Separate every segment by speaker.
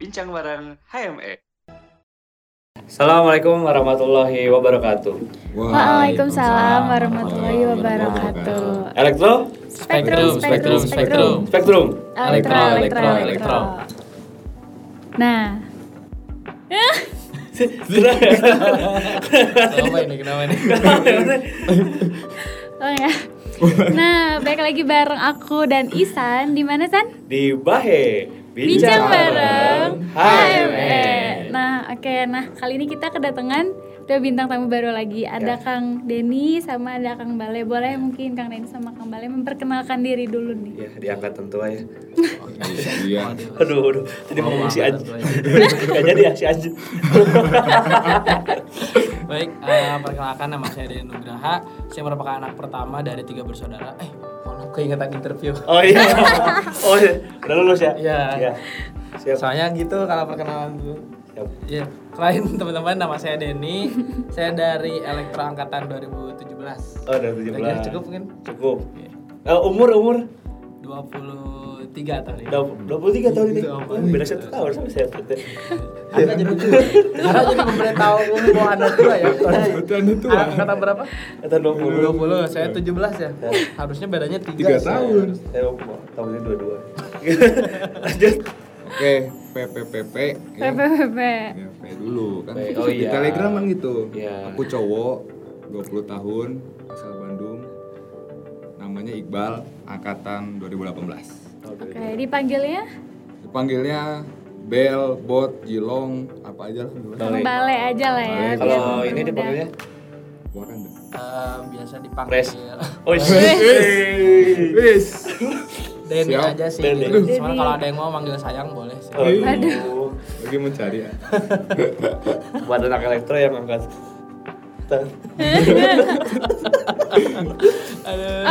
Speaker 1: bincang bareng
Speaker 2: E.
Speaker 1: HME.
Speaker 3: Assalamualaikum warahmatullahi wabarakatuh.
Speaker 4: Waalaikumsalam warahmatullahi wabarakatuh.
Speaker 3: Elektro,
Speaker 4: Spektrum, spektrum, spektrum.
Speaker 3: spektrum.
Speaker 4: Elektro, elektro, elektro. Nah,
Speaker 2: Kenapa ini? Kenapa ini?
Speaker 4: oh ya. Nah, baik lagi bareng aku dan Isan. Di mana San?
Speaker 3: Di Bahe.
Speaker 4: Bincang bareng
Speaker 3: HME.
Speaker 4: E. HME. Nah, oke. Nah, kali ini kita kedatangan dua bintang tamu baru lagi. Ada Kang Denny sama ada Kang Bale. Boleh mungkin Kang Denny sama Kang Bale memperkenalkan diri dulu nih.
Speaker 3: Ya, diangkat tentu aja.
Speaker 2: Iya.
Speaker 3: Aduh, aduh. Tadi
Speaker 2: Oh,
Speaker 3: ngomong si
Speaker 2: angkat
Speaker 3: anjing.
Speaker 2: tentu
Speaker 3: Gak jadi ya si anjing.
Speaker 2: Baik, eh, perkenalkan nama saya Deni Nugraha. Saya merupakan anak pertama dari tiga bersaudara. Eh, malah keingetan interview.
Speaker 3: Oh iya. Oh iya. Udah lulus ya?
Speaker 2: Iya.
Speaker 3: Siap.
Speaker 2: Soalnya gitu kalau perkenalan dulu.
Speaker 3: Siap.
Speaker 2: Iya. Selain teman-teman, nama saya Denny. Saya dari Elektro Angkatan 2017.
Speaker 3: Oh, udah 17.
Speaker 2: Udah cukup mungkin?
Speaker 3: Cukup. Eh, umur umur
Speaker 2: 23 tahun ini.
Speaker 3: Dua- 23 tahun ini.
Speaker 2: Iya,
Speaker 3: Oh,
Speaker 2: apaan?
Speaker 3: beda satu tahun sama saya.
Speaker 2: Anda jadi Anda jadi pemberitahu mau Anda tua ya. Anda tua. Angkatan berapa?
Speaker 3: Atau 20.
Speaker 2: 20, saya 17 ya.
Speaker 3: Iya.
Speaker 2: Harusnya bedanya 3,
Speaker 5: Tiga tahun.
Speaker 3: Saya mau- tahunnya dua-dua. Lanjut.
Speaker 5: Oke, PPPP. ya.
Speaker 4: PPPP.
Speaker 5: Ya, P dulu kan.
Speaker 3: P, oh
Speaker 5: Di
Speaker 3: iya.
Speaker 5: Telegram kan gitu.
Speaker 3: Iya.
Speaker 5: Aku cowok, 20 tahun, asal Bandung. Namanya Iqbal, angkatan 2018.
Speaker 4: Oke, dipanggilnya
Speaker 5: Dipanggilnya Bel, Bot, Jilong, apa aja lah. dulu.
Speaker 3: Bale.
Speaker 4: Kang Bale aja lah ya.
Speaker 5: Bale.
Speaker 4: biar
Speaker 3: Kalau ini
Speaker 4: mudah.
Speaker 3: dipanggilnya
Speaker 5: Warna deh.
Speaker 2: biasa
Speaker 3: Pres.
Speaker 2: dipanggil
Speaker 3: Oh,
Speaker 5: Wis.
Speaker 2: Denny
Speaker 5: Siap.
Speaker 2: aja sih.
Speaker 3: Denny.
Speaker 2: Gitu.
Speaker 4: Denny.
Speaker 2: Cuman kalau ada yang mau manggil sayang boleh sih.
Speaker 3: Aduh.
Speaker 5: Lagi mencari ya.
Speaker 3: Buat anak elektro yang angkat.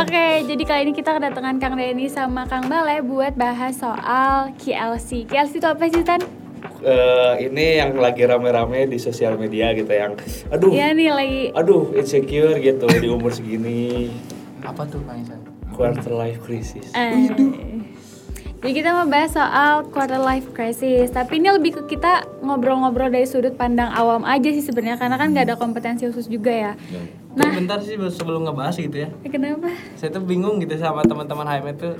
Speaker 4: Oke, jadi kali ini kita kedatangan Kang Denny sama Kang Bale buat bahas soal KLC. KLC itu apa sih, Tan?
Speaker 3: Eh, ini yang lagi rame-rame di sosial media gitu yang aduh
Speaker 4: Iya nih lagi.
Speaker 3: aduh insecure gitu di umur segini
Speaker 2: Apa tuh Kang Isan?
Speaker 3: quarter life crisis
Speaker 4: eh, Jadi kita mau bahas soal quarter life crisis. Tapi ini lebih ke kita ngobrol-ngobrol dari sudut pandang awam aja sih sebenarnya karena kan nggak ada kompetensi khusus juga ya.
Speaker 2: Tapi
Speaker 4: Nah,
Speaker 2: Bentar sih sebelum ngebahas gitu ya.
Speaker 4: eh, kenapa?
Speaker 2: Saya tuh bingung gitu sama teman-teman HM itu.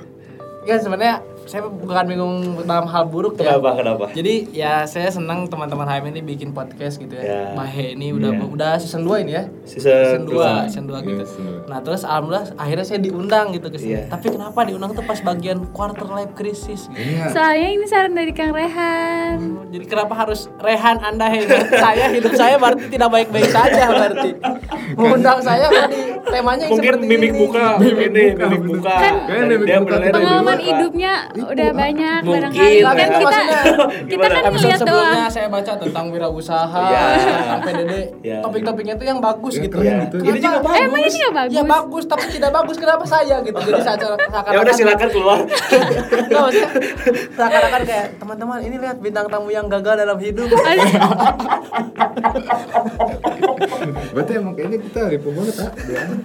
Speaker 2: Ya sebenarnya saya bukan bingung dalam hal buruk ya.
Speaker 3: kenapa kenapa
Speaker 2: Jadi ya saya senang teman-teman HM ini bikin podcast gitu
Speaker 3: Ya.
Speaker 2: ya. Bahe ini udah udah season 2 ini ya.
Speaker 3: season
Speaker 2: season 2
Speaker 3: dua
Speaker 2: season 2
Speaker 5: Iya,
Speaker 2: gitu
Speaker 5: season dua.
Speaker 2: nah terus alhamdulillah akhirnya saya diundang gitu ke sini
Speaker 3: Iya.
Speaker 2: tapi kenapa diundang tuh pas bagian quarter life crisis gitu
Speaker 3: Nah.
Speaker 5: Iya.
Speaker 4: Soalnya ini saran dari Kang Rehan.
Speaker 2: jadi kenapa harus Rehan Anda Henan? saya hidup saya berarti tidak baik-baik saja berarti. Mengundang saya berarti temanya yang
Speaker 3: mungkin
Speaker 2: seperti
Speaker 3: mimik
Speaker 2: ini.
Speaker 3: muka ini mimik muka
Speaker 4: Kan
Speaker 3: Dari-
Speaker 5: mimik
Speaker 3: dia
Speaker 5: muka
Speaker 3: bener-bener
Speaker 4: Pengalaman
Speaker 3: mimik muka.
Speaker 4: hidupnya udah banyak
Speaker 3: iya. Mungkin,
Speaker 4: barangkali.
Speaker 3: Rehan.
Speaker 4: Kan kita kita
Speaker 3: Gimana?
Speaker 4: kan
Speaker 2: Episode
Speaker 4: ngeliat doang.
Speaker 2: sebelumnya saya baca tentang wirausaha,
Speaker 3: Iya.
Speaker 2: tentang PDD.
Speaker 3: Iya.
Speaker 2: Topik-topiknya tuh yang bagus
Speaker 5: Yang
Speaker 2: gitu.
Speaker 5: keren
Speaker 2: ya.
Speaker 5: gitu.
Speaker 3: Ini juga
Speaker 2: Kenapa?
Speaker 4: bagus. Emang ini nggak bagus?
Speaker 2: Ya bagus, tapi tidak bagus kenapa saya gitu. Jadi saya
Speaker 3: ya udah silakan keluar
Speaker 2: Nggak, maksudnya seakan-akan kayak teman-teman ini lihat bintang tamu yang gagal dalam hidup.
Speaker 5: Berarti emang kayaknya kita ribu banget ah. Doang.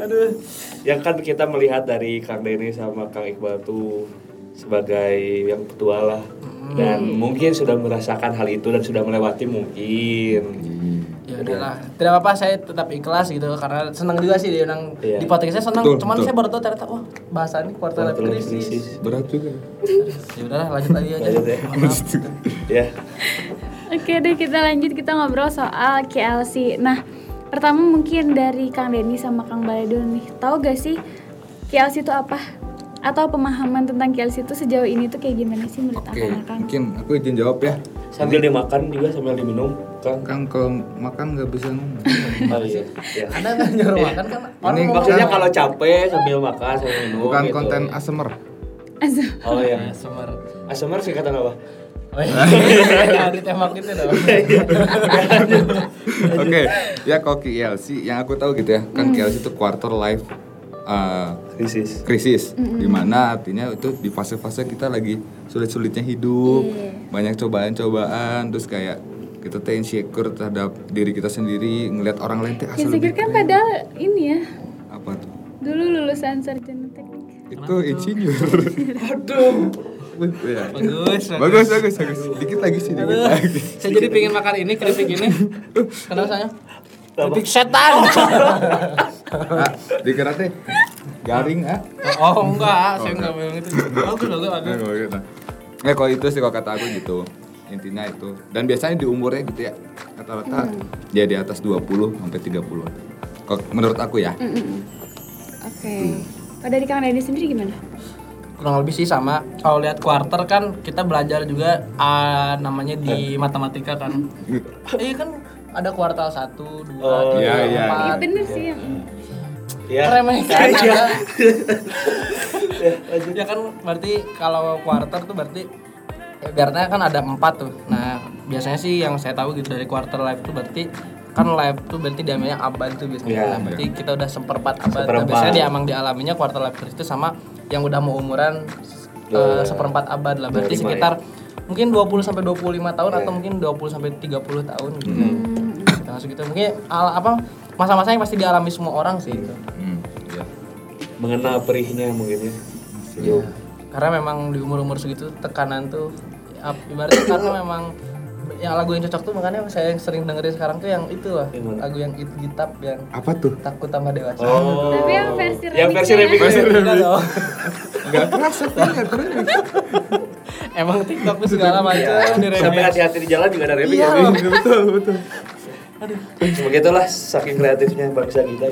Speaker 3: aduh yang kan kita melihat dari Kang Denny sama Kang Iqbal tuh sebagai yang petua lah dan mungkin sudah merasakan hal itu dan sudah melewati mungkin
Speaker 2: Ya udahlah, tidak apa-apa saya tetap ikhlas gitu karena senang juga sih diundang
Speaker 3: Iya.
Speaker 2: di podcast saya senang.
Speaker 5: Betul,
Speaker 2: Cuman
Speaker 5: betul.
Speaker 2: saya baru tahu ternyata wah bahasa ini quarter life
Speaker 3: Quarter life
Speaker 2: crisis.
Speaker 3: crisis.
Speaker 5: Berat juga.
Speaker 2: Ya udahlah lanjut lagi aja.
Speaker 3: Lanjut ya.
Speaker 2: Mohon maaf.
Speaker 3: ya
Speaker 4: Oke deh kita lanjut kita ngobrol soal KLC. Nah pertama mungkin dari Kang Denny sama Kang Bale dulu nih. Tahu gak sih KLC itu apa? Atau pemahaman tentang KLC itu sejauh ini tuh kayak gimana sih menurut
Speaker 5: Oke,
Speaker 4: akang-akang?
Speaker 5: mungkin aku izin jawab ya.
Speaker 3: sambil dimakan juga sambil diminum Kang
Speaker 5: Kang kalau makan nggak bisa ngomong.
Speaker 3: Oh, iya. Ya.
Speaker 2: Anda kan nyuruh makan kan orang
Speaker 5: Ini
Speaker 2: mau
Speaker 3: Maksudnya
Speaker 2: makan.
Speaker 3: kalau capek sambil makan sambil minum.
Speaker 5: Bukan
Speaker 3: gitu.
Speaker 5: konten asemer.
Speaker 4: Azul.
Speaker 3: Oh
Speaker 2: ya
Speaker 3: iya.
Speaker 2: sumber.
Speaker 3: Asmr sih kata apa?
Speaker 2: Oh iya, ada tembak gitu dong.
Speaker 5: Oke, ya kalau KLC yang aku tahu gitu ya, kan KLC itu quarter life uh,
Speaker 3: Krisis.
Speaker 5: krisis, dimana artinya itu di fase-fase kita lagi sulit-sulitnya hidup, banyak cobaan-cobaan, terus kayak kita teh insecure terhadap diri kita sendiri, ngelihat orang lain teh asal lebih
Speaker 4: Insecure kan
Speaker 5: keren.
Speaker 4: padahal ini ya
Speaker 5: apa tuh?
Speaker 4: dulu lulusan sarjana teknik.
Speaker 5: Itu insinyur.
Speaker 3: Aduh.
Speaker 5: Ya.
Speaker 2: Bagus,
Speaker 5: bagus bagus bagus dikit lagi sih dikit
Speaker 2: Aduh,
Speaker 5: lagi
Speaker 2: saya jadi pingin makan ini keripik ini. Kenapa saya?
Speaker 3: Apa?
Speaker 2: Keripik setan.
Speaker 5: ah, di karate garing ah
Speaker 2: oh enggak, saya enggak bilang itu. Bagus bagus bagus.
Speaker 5: Nah, kalau gitu. Eh kalau itu sih kalau kata aku gitu intinya itu dan biasanya di umurnya gitu ya rata-rata
Speaker 2: Hmm.
Speaker 5: ya di atas 20 sampai 30 kalau menurut aku ya
Speaker 4: Oke. Pada dari Kang Denny sendiri gimana?
Speaker 2: kurang lebih sih sama kalau lihat quarter kan kita belajar juga ah, namanya di matematika kan iya kan ada kuartal satu dua
Speaker 3: Oh,
Speaker 2: tiga
Speaker 5: iya, iya.
Speaker 4: Iya
Speaker 2: empat
Speaker 4: bener sih. ya.
Speaker 3: Ya.
Speaker 2: remehkan
Speaker 3: Iya.
Speaker 2: ada.
Speaker 3: Ya, lanjut.
Speaker 2: ya kan berarti kalau quarter tuh berarti ya, karena kan ada empat tuh nah biasanya sih yang saya tahu gitu dari quarter life tuh berarti kan live tuh berarti diambilnya abad tuh biasanya
Speaker 3: Iya,
Speaker 2: Nah, berarti kita udah seperempat abad Nah,
Speaker 3: Seperempat.
Speaker 2: biasanya dia emang dialaminya quarter life crisis itu sama yang udah mau umuran
Speaker 3: Dua-
Speaker 2: eh, seperempat abad lah
Speaker 3: 25
Speaker 2: berarti
Speaker 3: ya.
Speaker 2: sekitar mungkin 20 sampai 25 tahun
Speaker 3: Iya.
Speaker 2: atau mungkin 20 sampai 30 tahun gitu.
Speaker 3: Hmm.
Speaker 2: Kita masuk gitu. Mungkin al- apa masa-masa yang pasti dialami semua orang sih gitu. itu.
Speaker 5: hmm, ya.
Speaker 3: Mengenal perihnya mungkin ya.
Speaker 2: Iya. Karena memang di umur-umur segitu tekanan tuh ya, ap- ibaratnya karena memang yang lagu yang cocok tuh makanya saya yang sering dengerin sekarang tuh yang itu lah.
Speaker 3: Yang mana?
Speaker 2: Lagu yang It Gitap yang
Speaker 5: apa tuh
Speaker 2: takut tambah dewasa.
Speaker 3: Oh.
Speaker 4: Tapi yang versi
Speaker 3: yang versi remix.
Speaker 4: remixnya.
Speaker 2: Enggak dong.
Speaker 5: nggak kerasa tuh nggak kerasa
Speaker 2: Emang TikTok tuh segala macam di
Speaker 3: Iya. Sampai
Speaker 2: remix.
Speaker 3: hati-hati di jalan juga ada remix.
Speaker 2: Iya,
Speaker 3: ya.
Speaker 2: loh.
Speaker 5: betul betul
Speaker 3: Semoga itulah saking kreatifnya bangsa kita.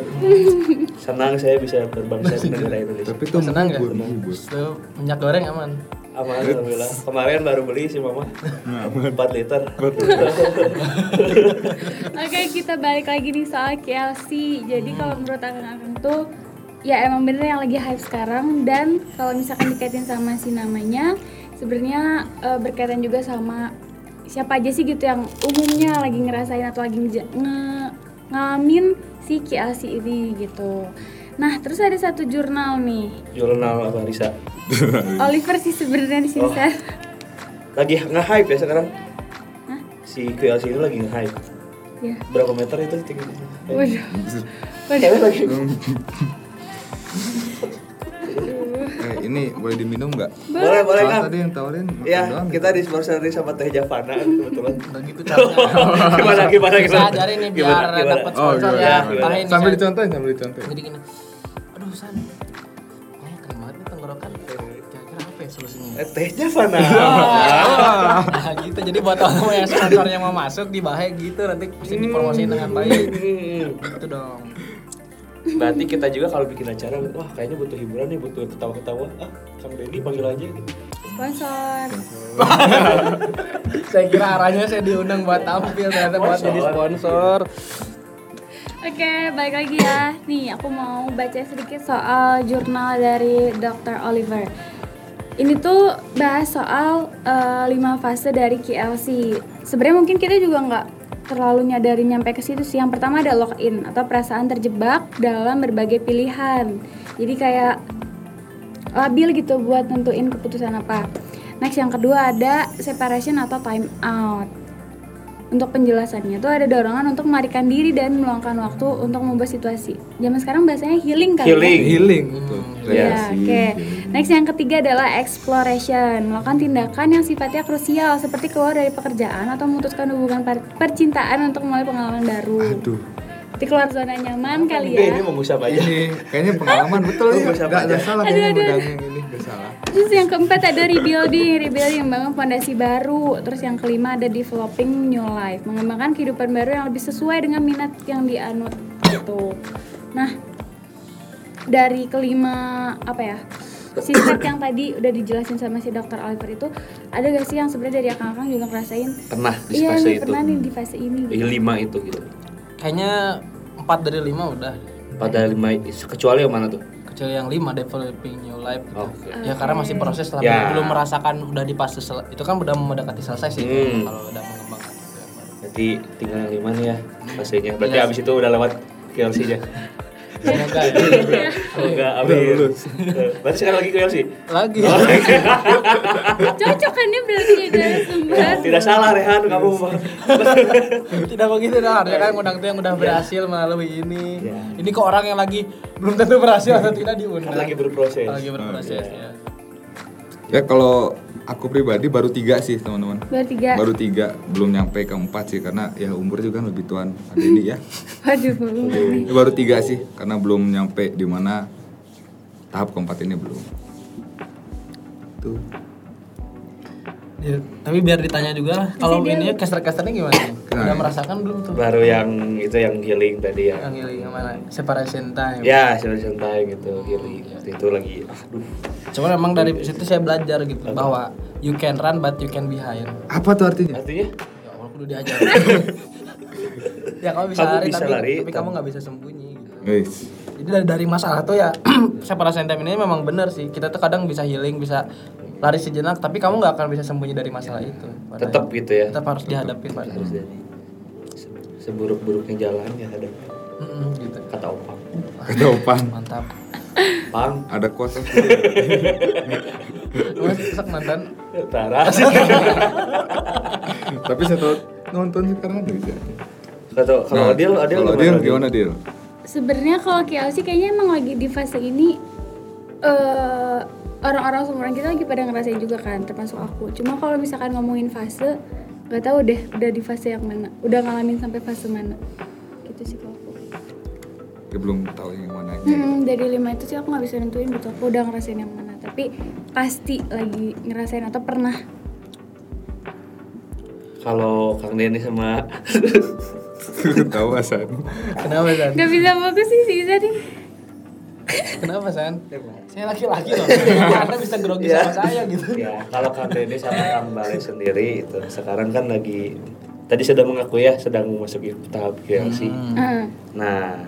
Speaker 3: Senang saya bisa berbangsa di negara Indonesia.
Speaker 5: tapi tuh
Speaker 2: Senang nggak?
Speaker 5: menghibur menghibur
Speaker 2: Tuh, minyak goreng aman.
Speaker 3: Aman alhamdulillah. Kemarin baru beli sih mama.
Speaker 5: Nah,
Speaker 3: 4 liter.
Speaker 4: Oke kita balik lagi nih soal KLC Jadi kalau menurut akang-akang tuh Ya emang bener yang lagi hype sekarang Dan kalau misalkan dikaitin sama si namanya sebenarnya eh, berkaitan juga sama Siapa aja sih gitu yang umumnya lagi ngerasain atau lagi ngeja- nge- ngalamin si KLC ini gitu Nah terus ada satu jurnal nih
Speaker 3: Jurnal apa Risa?
Speaker 4: Oliver sih sebenarnya di sini
Speaker 3: Oh.
Speaker 4: Sar.
Speaker 3: Lagi nge-hype ya sekarang.
Speaker 4: Hah?
Speaker 3: Si QLC ini lagi nge-hype.
Speaker 4: Ya.
Speaker 3: Berapa meter itu tingginya?
Speaker 4: Waduh.
Speaker 3: Cewek lagi.
Speaker 5: eh ini boleh diminum nggak
Speaker 3: Boleh, boleh
Speaker 5: Soal
Speaker 3: kan?
Speaker 5: tadi yang tawarin makan
Speaker 3: Ya,
Speaker 2: Iya,
Speaker 5: doang gitu.
Speaker 3: kita disponsori sama Teh Javana kebetulan.
Speaker 2: Udah gitu caranya.
Speaker 3: gimana gimana
Speaker 2: Bisa
Speaker 3: gimana?
Speaker 2: ajarin nih biar
Speaker 3: Gimana, gimana?
Speaker 2: dapat
Speaker 5: oh
Speaker 2: sponsor
Speaker 5: gimana,
Speaker 2: ya.
Speaker 5: gimana?
Speaker 2: Tahin nih,
Speaker 5: sambil
Speaker 2: San.
Speaker 5: dicontohin sambil dicontohin
Speaker 2: Jadi gini. Aduh, San. Kayaknya kering banget nih tenggorokan. Kira-kira apa ya solusinya?
Speaker 3: Eh, Teh Javana.
Speaker 4: Oh.
Speaker 2: Ah. nah, gitu jadi buat teman yang sponsor yang mau masuk di Bahaya gitu nanti bisa dipromosiin dengan baik
Speaker 3: Hmm.
Speaker 2: gitu dong
Speaker 3: Berarti kita juga kalau bikin acara, wah kayaknya butuh hiburan nih, butuh ketawa-ketawa. Ah, Kang Denny panggil aja.
Speaker 4: Sponsor
Speaker 2: saya kira arahnya saya diundang buat tampil ternyata buat jadi sponsor
Speaker 4: Oke, balik lagi ya. Nih, aku mau baca sedikit soal jurnal dari Dr. Oliver. Ini tuh bahas soal eh, lima fase dari KLC. Sebenarnya mungkin kita juga nggak terlalu nyadari nyampe ke situ sih. Yang pertama ada lock-in atau perasaan terjebak dalam berbagai pilihan. Jadi kayak labil gitu buat nentuin keputusan apa. Next yang kedua ada separation atau time out. Untuk penjelasannya tuh ada dorongan untuk melarikan diri dan meluangkan waktu untuk mengubah situasi. Zaman sekarang bahasanya healing kan?
Speaker 3: Healing.
Speaker 5: healing betul Iya,
Speaker 2: Hmm, iya,
Speaker 4: Ya,
Speaker 5: Kreasi.
Speaker 4: oke. Next yang ketiga adalah exploration. Melakukan tindakan yang sifatnya krusial seperti keluar dari pekerjaan atau memutuskan hubungan par- percintaan untuk mulai pengalaman baru.
Speaker 5: aduh
Speaker 4: Jadi keluar zona nyaman kali
Speaker 3: Deh,
Speaker 4: ya.
Speaker 3: ini mengusap aja.
Speaker 5: ini kayaknya pengalaman betul ya
Speaker 3: Tunggu siapa
Speaker 5: nggak nggak
Speaker 3: aja.
Speaker 5: salah
Speaker 4: Aduh,
Speaker 5: kayaknya
Speaker 4: aduh,
Speaker 5: bedanya yang ini nggak salah
Speaker 4: Terus yang keempat ada rebuilding, rebuilding membangun fondasi baru. Terus yang kelima ada developing new life, mengembangkan kehidupan baru yang lebih sesuai dengan minat yang dianut gitu. Nah, dari kelima apa ya? Sifat yang tadi udah dijelasin sama si dokter Oliver itu ada gak sih yang sebenarnya dari akang-akang juga ngerasain
Speaker 3: Pernah di
Speaker 4: Iya
Speaker 3: fase
Speaker 4: nih
Speaker 3: itu.
Speaker 4: pernah nih di fase ini gitu.
Speaker 3: Eh, Lima itu gitu.
Speaker 2: kayaknya 4 dari 5 udah
Speaker 3: Pada lima, kecuali yang mana tuh?
Speaker 2: kecuali yang 5 developing new life gitu.
Speaker 3: Oke.
Speaker 2: ya karena masih proses lah
Speaker 3: Ya.
Speaker 2: belum merasakan udah di fase sel- itu kan udah mendekati selesai sih
Speaker 3: Hmm.
Speaker 2: kalau udah mengembangkan gitu yang baru.
Speaker 3: Berarti tinggal yang lima nih ya fasenya. Berarti
Speaker 2: Iya.
Speaker 3: abis itu udah lewat KLC-nya.
Speaker 2: Semoga ya.
Speaker 3: Oh, Enggak, abis. Eh, Berarti sekarang lagi KLC?
Speaker 2: lagi
Speaker 3: Oh.
Speaker 4: Cocok kan dia berarti
Speaker 3: Iya.
Speaker 4: ya dari sumber.
Speaker 3: Tidak salah Rehan, kamu
Speaker 2: tidak begitu dong harusnya kan ngundang tuh yang
Speaker 3: Iya.
Speaker 2: udah berhasil melalui ini
Speaker 3: Ya.
Speaker 2: ini kok orang yang lagi belum
Speaker 3: Iya.
Speaker 2: tentu berhasil atau tidak diundang
Speaker 3: lagi berproses.
Speaker 2: lagi berproses ya.
Speaker 5: Ya kalau aku pribadi baru tiga sih teman-teman
Speaker 4: Baru tiga.
Speaker 5: baru tiga belum nyampe ke empat sih karena ya umur juga kan lebih tuan ada ini ya
Speaker 4: Waduh, belum nih.
Speaker 5: Ini baru tiga sih karena belum nyampe di mana tahap keempat ini belum tuh
Speaker 2: Ya, tapi biar ditanya juga lah kalau
Speaker 4: dia-
Speaker 2: ini caster-casternya gimana? Udah
Speaker 3: iya.
Speaker 5: Nah.
Speaker 2: merasakan belum tuh?
Speaker 3: baru yang itu yang healing tadi ya
Speaker 2: Yang ini yang mana? Separation time.
Speaker 3: ya solution time gitu healing Waktu itu lagi aduh
Speaker 2: Cuman emang dari situ saya belajar gitu bahwa you can run but you can be higher.
Speaker 5: apa tuh artinya
Speaker 3: artinya
Speaker 2: Ya Allah, aku udah diajar. ya kamu bisa
Speaker 3: Kamu
Speaker 2: lari
Speaker 3: bisa
Speaker 2: tapi,
Speaker 3: lari,
Speaker 2: tapi kamu nggak bisa sembunyi. Gitu.
Speaker 5: Wis.
Speaker 2: Jadi dari, dari masalah tuh ya separation time ini memang benar sih. Kita tuh kadang bisa healing, bisa lari sejenak, tapi kamu nggak akan bisa sembunyi dari masalah itu. Padahal
Speaker 3: tetap Iya. gitu ya
Speaker 2: tetap harus dihadapi Pak.
Speaker 3: harus jadi se- seburuk-buruknya jalan ya ada
Speaker 2: Mm-mm, gitu.
Speaker 3: kata opang
Speaker 5: ada opan
Speaker 2: Mantap.
Speaker 3: pang
Speaker 5: ada kuasa
Speaker 2: Lu sesek nonton
Speaker 3: ya, Tara
Speaker 5: tapi saya tahu nonton sekarang ada bisa
Speaker 3: Kata kalau
Speaker 5: Nah,
Speaker 3: Adil, Adil
Speaker 5: kalau Adil gimana Adil
Speaker 4: Sebenarnya kalau KLC kayaknya emang lagi di fase ini eh, orang-orang seumuran kita lagi pada ngerasain juga kan, termasuk aku. Cuma kalau misalkan ngomongin fase, nggak tahu deh udah di fase yang mana, udah ngalamin sampai fase mana. Gitu sih kalau aku.
Speaker 5: Dia belum tahu yang mana aja
Speaker 4: Hmm, dari lima itu sih aku nggak bisa nentuin gitu. Aku udah ngerasain yang mana, tapi pasti lagi ngerasain atau pernah.
Speaker 3: Kalau Kang Denny sama
Speaker 5: tahu asal
Speaker 2: Kenapa San?
Speaker 4: Gak bisa fokus sih si Iza nih.
Speaker 2: Kenapa San?
Speaker 3: Iya,
Speaker 2: Saya laki-laki loh. Anda bisa grogi sama saya gitu.
Speaker 3: ya kalau Kang Denny sama Kang Bale sendiri itu sekarang kan lagi tadi sedang mengakui ya sedang memasuki tahap QLC.
Speaker 5: Hmm.
Speaker 4: Heeh.
Speaker 3: Nah,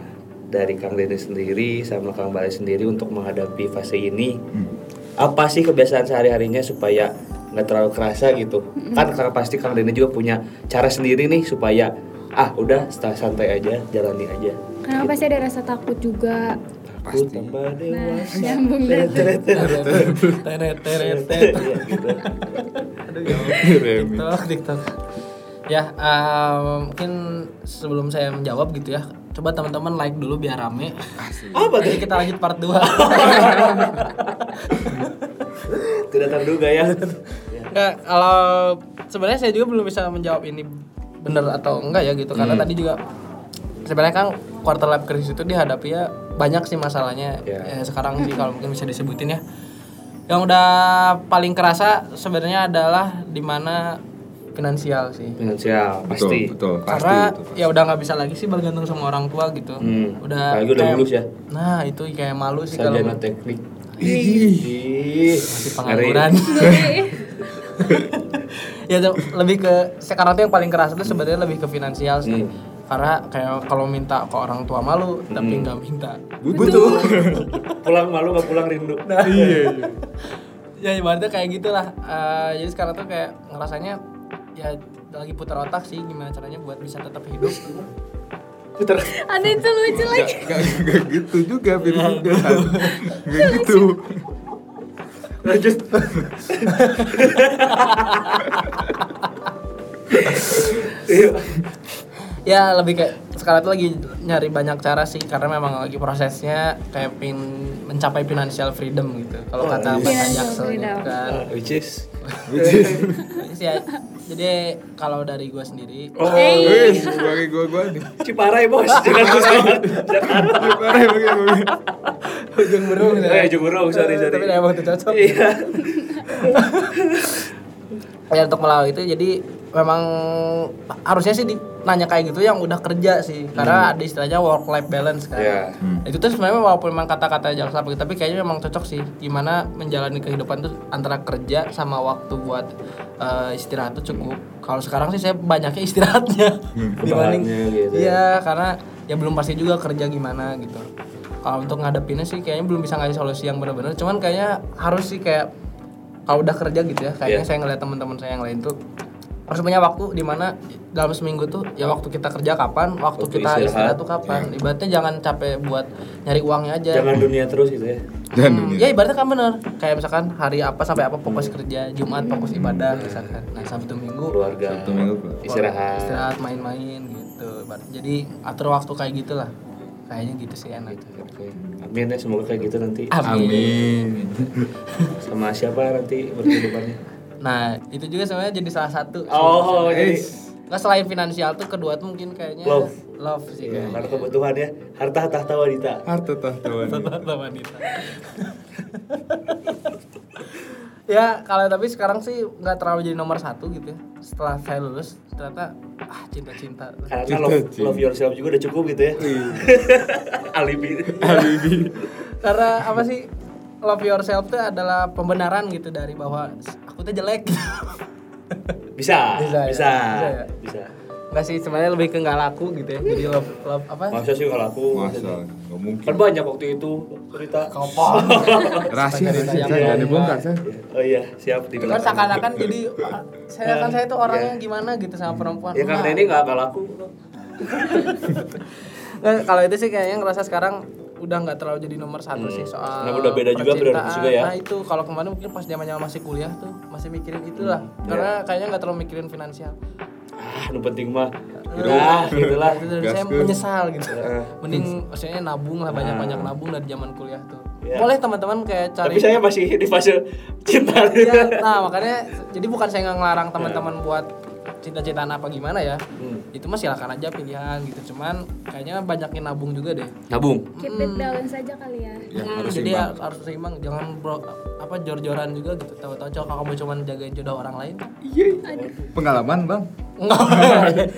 Speaker 3: dari Kang Denny sendiri sama Kang Bale sendiri untuk menghadapi fase ini apa sih kebiasaan sehari-harinya supaya nggak terlalu kerasa gitu kan karena pasti Kang Denny juga punya cara sendiri nih supaya ah udah setelah santai aja jalani aja
Speaker 4: Karena pasti ada rasa takut juga.
Speaker 3: Aku tambah
Speaker 4: Nah,
Speaker 3: dewasa
Speaker 4: nyambung deh.
Speaker 2: Teret teret teret.
Speaker 3: Iya, gitu.
Speaker 2: Aduh ya Allah.
Speaker 5: Remi.
Speaker 2: TikTok TikTok. Ya, em, mungkin sebelum saya menjawab gitu ya, coba teman-teman like dulu biar rame.
Speaker 3: apa tuh
Speaker 2: Jadi kita lanjut part 2.
Speaker 3: tidak terduga ya
Speaker 2: Enggak, kalau sebenarnya saya juga belum bisa menjawab ini bener atau enggak ya gitu
Speaker 3: Hmm.
Speaker 2: karena tadi juga sebenarnya kan quarter life crisis itu dihadapi ya banyak sih masalahnya
Speaker 3: Iya.
Speaker 2: Ya, sekarang sih kalau mungkin bisa disebutin ya yang udah paling kerasa sebenarnya adalah dimana finansial sih
Speaker 3: finansial
Speaker 5: betul
Speaker 3: pasti
Speaker 5: betul pasti
Speaker 2: karena
Speaker 5: itu.
Speaker 2: ya udah nggak bisa lagi sih bergantung sama orang tua gitu
Speaker 3: Hmm.
Speaker 2: udah
Speaker 3: Apalagi udah
Speaker 2: kayak-
Speaker 3: lulus ya.
Speaker 2: nah itu kayak malu sih kalau
Speaker 3: sarjana teknik
Speaker 5: Ih,
Speaker 3: Ih,
Speaker 2: masih
Speaker 3: ngeri.
Speaker 2: pengangguran ya tuh, lebih ke sekarang tuh yang paling keras itu sebenarnya lebih ke finansial sih
Speaker 3: Hmm.
Speaker 2: karena kayak kalau minta ke orang tua malu tapi nggak minta
Speaker 5: butuh Iya,
Speaker 3: pulang malu nggak pulang rindu
Speaker 5: Nah.
Speaker 2: ya ibaratnya kayak gitulah Eh, jadi sekarang tuh kayak ngerasanya ya lagi putar otak sih gimana caranya buat bisa tetap hidup
Speaker 3: Puter.
Speaker 4: Ada itu lucu lagi.
Speaker 5: Gak, gak gitu juga Firman Gak gitu
Speaker 3: lanjut Iya.
Speaker 2: ya lebih kayak sekarang tuh lagi nyari banyak cara sih karena memang lagi prosesnya kayak pin mencapai financial freedom gitu
Speaker 3: Oh,
Speaker 2: kalau kata Pak
Speaker 4: Financial
Speaker 2: Jackson gitu
Speaker 4: freedom.
Speaker 2: kan
Speaker 3: Ah, which is
Speaker 5: Iya,
Speaker 2: Terus ya, jadi kalau dari gua sendiri
Speaker 3: oh
Speaker 5: Wih, bagi gua-gua nih Iya,
Speaker 3: Ciparai bos jangan Jakarta
Speaker 5: Parah bagi gua
Speaker 2: ujung burung gitu ya.
Speaker 3: eh Jumurung sorry sorry
Speaker 2: tapi emang itu cocok
Speaker 3: iya
Speaker 2: ya untuk melalui itu jadi memang harusnya sih nanya kayak gitu yang udah kerja sih karena ada istilahnya work life balance kan
Speaker 3: Iya.
Speaker 2: itu tuh sebenarnya walaupun memang kata-kata jangan sampai tapi kayaknya memang cocok sih gimana menjalani kehidupan tuh antara kerja sama waktu buat eh, istirahat tuh cukup kalau sekarang sih saya banyaknya istirahatnya dibanding
Speaker 3: Rebahannya Hmm, gitu ya.
Speaker 2: iya karena ya belum pasti juga kerja gimana gitu kalau untuk ngadepinnya sih kayaknya belum bisa ngasih solusi yang benar-benar cuman kayaknya harus sih kayak kalau udah kerja gitu ya kayaknya
Speaker 3: Iya.
Speaker 2: saya ngeliat teman-teman saya yang lain tuh harus punya waktu di mana dalam seminggu tuh ya waktu kita kerja kapan waktu,
Speaker 3: Waktu
Speaker 2: kita istirahat
Speaker 3: istirahat. Iya.
Speaker 2: tuh kapan ibaratnya jangan capek buat nyari uangnya aja
Speaker 3: jangan dunia terus gitu ya
Speaker 5: Dan
Speaker 2: Hmm, ya ibaratnya kan bener kayak misalkan hari apa sampai apa fokus kerja Jumat fokus ibadah misalkan nah Sabtu Minggu
Speaker 3: keluarga
Speaker 5: Sabtu minggu gua.
Speaker 3: istirahat
Speaker 2: istirahat main-main gitu ibaratnya. jadi atur waktu kayak gitulah kayaknya gitu sih enak
Speaker 3: Oke. Amin ya
Speaker 2: Ah.
Speaker 3: semoga kayak gitu nanti
Speaker 5: Amin
Speaker 3: sama siapa nanti berkehidupannya
Speaker 2: Nah, itu juga sebenarnya jadi salah satu.
Speaker 3: Oh, jadi
Speaker 2: Nggak selain finansial tuh kedua tuh mungkin kayaknya
Speaker 3: Love.
Speaker 2: love sih
Speaker 3: karena
Speaker 2: kayaknya.
Speaker 3: kebutuhan ya harta tahta wanita.
Speaker 5: Harta tahta wanita.
Speaker 2: Tata wanita. ya kalau tapi sekarang sih nggak terlalu jadi nomor satu gitu ya. setelah saya lulus ternyata ah cinta-cinta
Speaker 3: Karena love,
Speaker 5: Cinta,
Speaker 3: love
Speaker 5: cinta.
Speaker 3: yourself juga udah cukup gitu ya. Alibi.
Speaker 5: Alibi.
Speaker 2: karena apa sih love yourself tuh adalah pembenaran gitu dari bahwa aku tuh jelek
Speaker 3: Bisa,
Speaker 2: Bisa
Speaker 3: bisa,
Speaker 2: ya,
Speaker 3: bisa.
Speaker 2: bisa ya. nggak sih sebenarnya lebih ke nggak laku gitu ya jadi love love apa
Speaker 3: Masa sih kalau aku?
Speaker 5: Masa nggak mungkin.
Speaker 3: Kan banyak waktu itu cerita.
Speaker 2: kopong
Speaker 3: Gitu kan.
Speaker 5: Rahasia, rahasia, Ya,
Speaker 2: Iya,
Speaker 5: jangan
Speaker 2: iya.
Speaker 5: dibongkar saya.
Speaker 3: Oh iya, siap di
Speaker 2: kan seakan-akan jadi ah, saya kan saya tuh orangnya
Speaker 3: Iya.
Speaker 2: gimana gitu sama perempuan
Speaker 3: Ya Kang
Speaker 2: Enggak.
Speaker 3: Denny nggak kalah aku.
Speaker 2: Nggak, nah, kalau itu sih kayaknya ngerasa sekarang udah nggak terlalu jadi nomor satu sih soal
Speaker 3: Karena Hmm. Nah, udah beda juga, periode
Speaker 2: percintaan.
Speaker 3: juga ya.
Speaker 2: nah itu kalau kemarin mungkin pas zaman zaman masih kuliah tuh masih mikirin itulah
Speaker 3: Hmm, iya.
Speaker 2: karena kayaknya nggak terlalu mikirin finansial
Speaker 3: Ah, nu penting mah. Nah, gitulah.
Speaker 2: itu dari
Speaker 5: Gas,
Speaker 2: saya
Speaker 5: gas.
Speaker 2: menyesal gitu
Speaker 3: Eh.
Speaker 2: mending maksudnya nabung lah banyak banyak nabung dari zaman kuliah
Speaker 3: Ah.
Speaker 2: tuh
Speaker 3: Iya.
Speaker 2: boleh teman-teman kayak cari
Speaker 3: Tapi saya masih di fase cinta.
Speaker 2: Iya, nah makanya jadi bukan saya nggak ngelarang teman-teman buat cita-citaan apa gimana ya itu mah silakan aja pilihan gitu cuman kayaknya banyakin nabung juga deh
Speaker 3: Nabung.
Speaker 4: Keep it balance aja kali ya.
Speaker 5: Ya,
Speaker 2: Hmm,
Speaker 5: harus
Speaker 2: jadi
Speaker 5: seimbang.
Speaker 2: harus harus seimbang jangan bro, apa jor-joran juga gitu tahu-tahu cowok kamu cuman jagain jodoh orang lain
Speaker 5: Pengalaman bang?
Speaker 2: enggak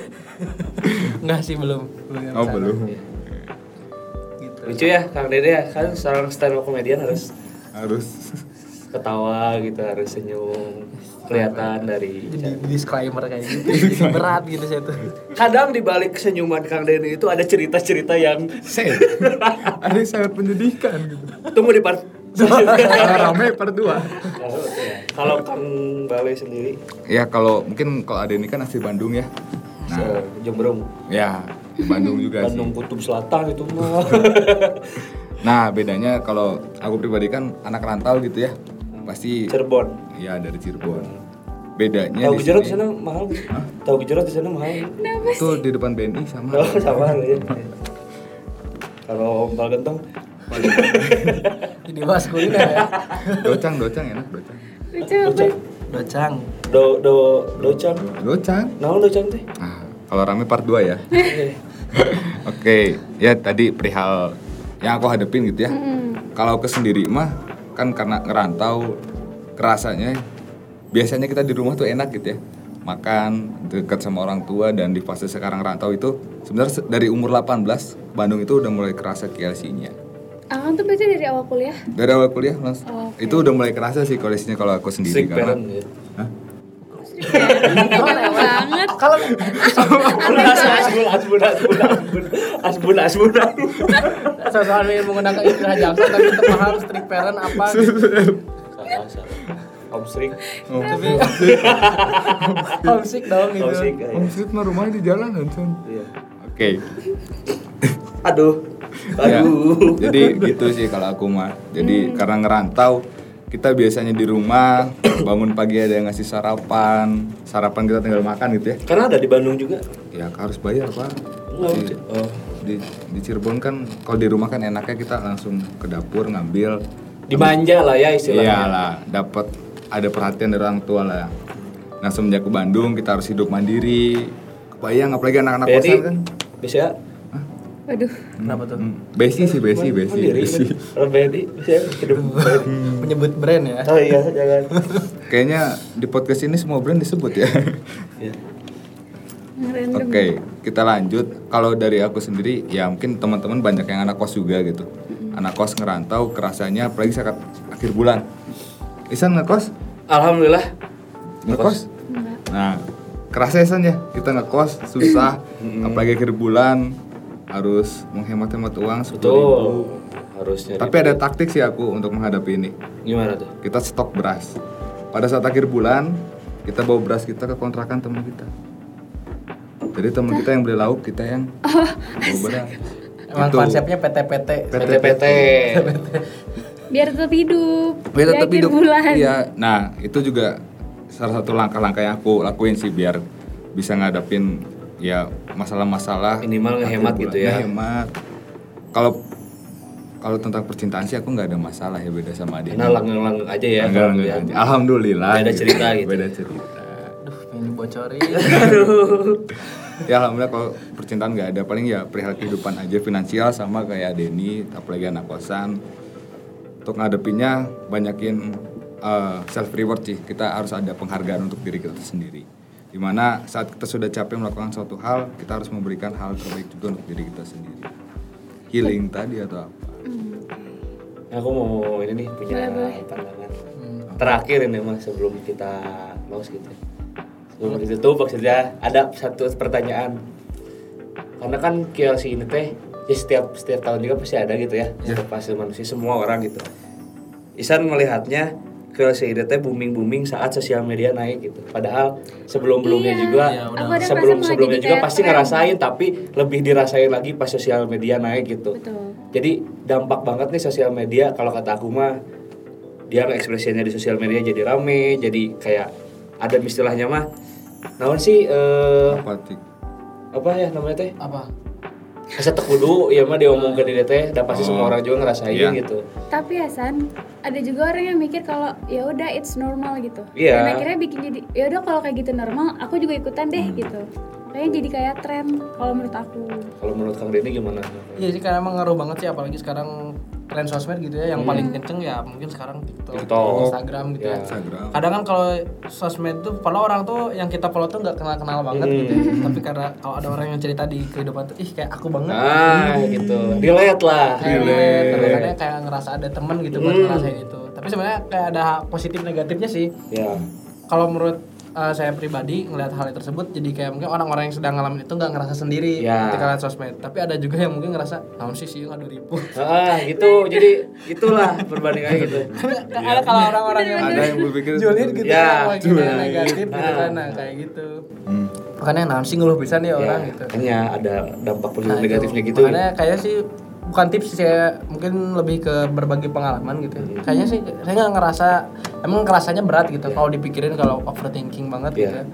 Speaker 2: enggak sih belum belum nyampe
Speaker 5: Oh
Speaker 2: sana.
Speaker 5: belum.
Speaker 2: gitu
Speaker 3: Lucu ya Kang Dede ya, kan seorang stand up comedian harus
Speaker 5: Harus.
Speaker 3: ketawa gitu, harus senyum kelihatan dari
Speaker 2: jadi disclaimer kayak gitu berat gitu saya tuh
Speaker 3: kadang di balik senyuman Kang Denny itu ada cerita-cerita yang
Speaker 5: Saya. Ada yang sangat menyedihkan gitu.
Speaker 3: tunggu di part
Speaker 5: Rame per dua.
Speaker 3: kalau Kang Bale sendiri
Speaker 5: Ya kalau mungkin kalau ada ini kan asli Bandung ya.
Speaker 3: se- Jombrong
Speaker 5: Ya di Bandung juga sih.
Speaker 3: Bandung Kutub Selatan itu mah
Speaker 5: Nah bedanya kalau aku pribadi kan anak rantau gitu ya pasti
Speaker 3: Cirebon
Speaker 5: ya dari Cirebon. Bedanya
Speaker 3: tahu
Speaker 5: di
Speaker 3: gejorot Iya, di
Speaker 5: sini
Speaker 3: sana mahal tahu gejorot di sana mahal
Speaker 5: itu di depan BNI sama.
Speaker 3: Oh, sama ya. Kalau ompal gentong,
Speaker 2: jadi bahas kuliner ya
Speaker 5: Docang docang enak docang.
Speaker 4: Lucu apa?
Speaker 3: docang,
Speaker 2: docang
Speaker 3: do do docang,
Speaker 5: Docang.
Speaker 3: naon docang teh?
Speaker 5: Nah, kalau rame part 2 ya. Oke, ya tadi perihal yang aku hadepin gitu ya. Kalau ke sendiri mah kan karena ngerantau kerasanya biasanya kita di rumah tuh enak gitu ya. Makan dekat sama orang tua dan di fase sekarang rantau itu sebenarnya se- dari umur 18 Bandung itu udah mulai kerasa KLC-nya.
Speaker 4: Akang tuh berarti dari awal kuliah.
Speaker 5: Dari awal kuliah Mas.
Speaker 4: Oke.
Speaker 5: Itu udah mulai kerasa sih koleksinya kalau aku sendiri
Speaker 3: Strict
Speaker 5: karena
Speaker 3: parent ya.
Speaker 5: Hah?
Speaker 4: Enak banget.
Speaker 2: kalau
Speaker 3: Asbun, asbun, asbun, asbun, asbun, asbun.
Speaker 2: soal ingin menggunakan istilah jaksa tapi untuk paham strict parent apa gitu.
Speaker 3: Salah, salah. Om Strik,
Speaker 2: tapi homesick dong
Speaker 3: Om Strik.
Speaker 2: gitu
Speaker 3: ya.
Speaker 5: Om Sid mah rumahnya di jalan Hanson.
Speaker 3: Iya.
Speaker 5: Oke.
Speaker 3: Aduh,
Speaker 5: Ya,
Speaker 3: aduh.
Speaker 5: jadi gitu sih kalau aku mah. Jadi
Speaker 2: Hmm.
Speaker 5: karena ngerantau kita biasanya di rumah bangun pagi ada yang ngasih sarapan, sarapan kita tinggal makan gitu ya.
Speaker 3: Karena ada di Bandung juga.
Speaker 5: Ya harus bayar pak.
Speaker 2: Iya.
Speaker 5: Di,
Speaker 3: Oh.
Speaker 5: di, di Cirebon kan kalau di rumah kan enaknya kita langsung ke dapur ngambil.
Speaker 3: Dimanja lah ya
Speaker 5: Iya.
Speaker 3: istilahnya.
Speaker 5: Iyalah, dapat ada perhatian dari orang tua lah. Nah semenjak ke Bandung kita harus hidup mandiri. Kebayang apalagi anak-anak
Speaker 3: Jadi
Speaker 5: kosan kan.
Speaker 3: bisa ya?
Speaker 4: Waduh.
Speaker 2: kenapa tuh
Speaker 5: Hmm, Besi sih, Iya. besi, besi,
Speaker 3: mandiri.
Speaker 5: besi.
Speaker 3: Kalau Bedi bisa ya? hidup.
Speaker 2: menyebut brand ya
Speaker 3: Oh iya, jangan.
Speaker 5: Kayaknya di podcast ini semua brand disebut ya.
Speaker 3: Ya.
Speaker 4: Ngerendam.
Speaker 5: Oke, kita lanjut. Kalau dari aku sendiri, ya mungkin teman-teman banyak yang anak kos juga gitu. Anak kos ngerantau, kerasanya apalagi saat akhir bulan. Isan ngekos?
Speaker 3: Alhamdulillah.
Speaker 5: Ngekos?
Speaker 4: Enggak.
Speaker 5: Nah, kerasa Isan ya, kita ngekos susah, apalagi akhir bulan harus menghemat-hemat uang
Speaker 3: Betul.
Speaker 5: 10.000.
Speaker 3: Harusnya.
Speaker 5: Tapi ada taktik sih aku untuk menghadapi ini.
Speaker 3: gimana tuh?
Speaker 5: Kita stok beras. Pada saat akhir bulan, kita bawa beras kita ke kontrakan teman kita. Jadi teman kita yang beli lauk, kita yang
Speaker 4: Oh,
Speaker 5: bawa beras.
Speaker 2: emang
Speaker 5: Gitu.
Speaker 2: konsepnya PT-PT
Speaker 3: PT-PT.
Speaker 4: Biar tetap hidup.
Speaker 5: Biar tetap
Speaker 4: Di akhir
Speaker 5: hidup.
Speaker 4: Bulan.
Speaker 5: Iya. Nah, itu juga salah satu langkah-langkah yang aku lakuin sih biar bisa ngadapin ya masalah-masalah
Speaker 3: Minimal
Speaker 5: akhir
Speaker 3: ngehemat
Speaker 5: bulan.
Speaker 3: gitu ya.
Speaker 5: Ngehemat. Kalau kalau tentang percintaan sih aku nggak ada masalah ya beda sama adik.
Speaker 3: Karena langgeng-langgeng aja ya.
Speaker 5: Enggak, enggak,
Speaker 3: ya.
Speaker 5: enggak. Alhamdulillah.
Speaker 3: Beda cerita gitu.
Speaker 5: Beda cerita.
Speaker 2: Aduh, pengen dibocorin.
Speaker 5: Ya alhamdulillah kalau percintaan nggak ada paling ya perihal kehidupan aja finansial sama kayak Denny apalagi anak kosan. Untuk ngadepinnya banyakin self reward sih. Kita harus ada penghargaan untuk diri kita sendiri. Dimana saat kita sudah capek melakukan suatu hal, kita harus memberikan hal terbaik juga untuk diri kita sendiri. Healing tadi atau apa?
Speaker 3: Aku mau ini nih punya pandangan. Terakhir ini mas sebelum kita close gitu. Sebelum kita tuh maksudnya ada satu pertanyaan. Karena kan KLC ini teh ya setiap setiap tahun juga pasti ada gitu ya. Setiap fase manusia semua orang gitu. Isan melihatnya KLC ini teh booming booming saat sosial media naik gitu. Padahal sebelum belumnya
Speaker 4: Iya,
Speaker 3: juga,
Speaker 2: Iya,
Speaker 4: udah. aku ada gitu
Speaker 3: sebelum
Speaker 4: merasa
Speaker 3: sebelumnya
Speaker 4: jadi
Speaker 3: juga
Speaker 4: kayak
Speaker 3: pasti
Speaker 4: tren.
Speaker 3: ngerasain tapi lebih dirasain lagi pas sosial media naik gitu.
Speaker 4: Betul.
Speaker 3: Jadi dampak banget nih sosial media kalau kata aku mah dia ekspresinya di sosial media jadi rame, jadi kayak ada istilahnya mah naon sih eh,
Speaker 5: Apatik.
Speaker 3: apa ya namanya teh?
Speaker 2: Apa?
Speaker 3: Asa tekudu ya mah diomongkeun di teh, dah pasti semua orang juga ngerasain
Speaker 5: Iya.
Speaker 3: gitu.
Speaker 4: Tapi Hasan, ada juga orang yang mikir kalau ya udah it's normal gitu.
Speaker 3: Iya.
Speaker 4: Dan akhirnya bikin jadi ya udah kalau kayak gitu normal, aku juga ikutan deh
Speaker 5: Hmm.
Speaker 4: gitu. Makanya jadi kayak tren kalau menurut aku.
Speaker 3: Kalau menurut Kang Denny gimana?
Speaker 2: Iya sih karena emang ngaruh banget sih apalagi sekarang tren sosmed gitu ya yang paling kenceng ya mungkin sekarang TikTok,
Speaker 3: TikTok.
Speaker 2: Instagram gitu
Speaker 3: Ya.
Speaker 2: ya.
Speaker 5: Instagram.
Speaker 2: Kadang kan kalau sosmed tuh kalau orang tuh yang kita follow tuh nggak kenal-kenal banget gitu. ya. Tapi karena kalau ada orang yang cerita di kehidupan tuh ih kayak aku banget.
Speaker 3: Nah, gitu. Relate lah.
Speaker 2: Relate, terus kadang kayak ngerasa ada temen gitu buat ngerasain itu. Tapi sebenarnya kayak ada positif negatifnya sih.
Speaker 3: Ya.
Speaker 2: Kalau menurut uh, saya pribadi ngelihat hal tersebut jadi kayak mungkin orang-orang yang sedang ngalamin itu nggak ngerasa sendiri
Speaker 3: Ya.
Speaker 2: ketika lihat sosmed. Tapi ada juga yang mungkin ngerasa naon sih sih aduh ribu.
Speaker 3: Ah, gitu. Jadi itulah perbandingannya gitu.
Speaker 2: Ada kalau orang-orang yang
Speaker 5: Ada yang berpikir
Speaker 2: julid gitu
Speaker 3: Ya,
Speaker 2: ya, wah, gini,
Speaker 3: julid.
Speaker 2: negatif gitu
Speaker 3: Nah.
Speaker 2: kan nah, kayak gitu
Speaker 5: Hmm.
Speaker 2: makanya naon sih ngeluh pisan
Speaker 3: Iya.
Speaker 2: ya orang gitu
Speaker 3: Makanya ada dampak positif
Speaker 2: Nah, itu.
Speaker 3: negatifnya gitu.
Speaker 2: makanya kayak sih bukan tips sih saya mungkin lebih ke berbagi pengalaman gitu
Speaker 3: Iya.
Speaker 2: kayaknya sih saya nggak ngerasa emang ngerasanya berat gitu kalau dipikirin kalau overthinking banget gitu
Speaker 3: Iya.
Speaker 2: ya.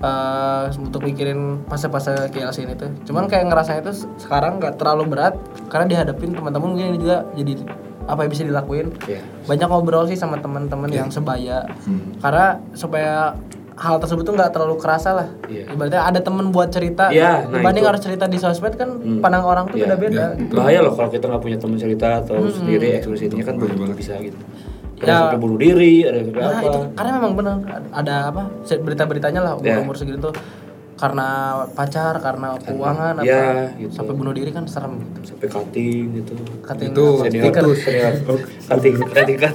Speaker 2: Eh, untuk mikirin fase-fase KLC ini tuh cuman kayak ngerasanya itu sekarang nggak terlalu berat karena dihadapin teman-teman mungkin ini juga jadi apa yang bisa dilakuin
Speaker 3: Iya.
Speaker 2: banyak ngobrol sih sama teman-teman yang sebaya
Speaker 3: Hmm.
Speaker 2: karena supaya hal tersebut tuh nggak terlalu kerasa lah
Speaker 3: Iya.
Speaker 2: ibaratnya ada temen buat cerita
Speaker 3: Iya, nah
Speaker 2: dibanding
Speaker 3: itu.
Speaker 2: harus cerita di sosmed kan pandang orang tuh
Speaker 3: Iya.
Speaker 2: beda-beda Hmm.
Speaker 3: bahaya loh kalau kita nggak punya teman cerita atau sendiri ekspresinya kan belum tentu bisa gitu ada yang
Speaker 2: Ya.
Speaker 3: sampai bunuh diri ada yang sampai
Speaker 2: nah
Speaker 3: apa
Speaker 2: itu karena memang benar ada- ada apa se- berita-beritanya lah umur
Speaker 3: Iya.
Speaker 2: umur segitu tuh karena pacar karena keuangan apa
Speaker 3: Iya, gitu.
Speaker 2: sampai bunuh diri kan serem gitu
Speaker 3: sampai cutting gitu
Speaker 2: Kating-
Speaker 5: Itu
Speaker 3: senior
Speaker 5: stiker.
Speaker 3: senior cutting cutting kan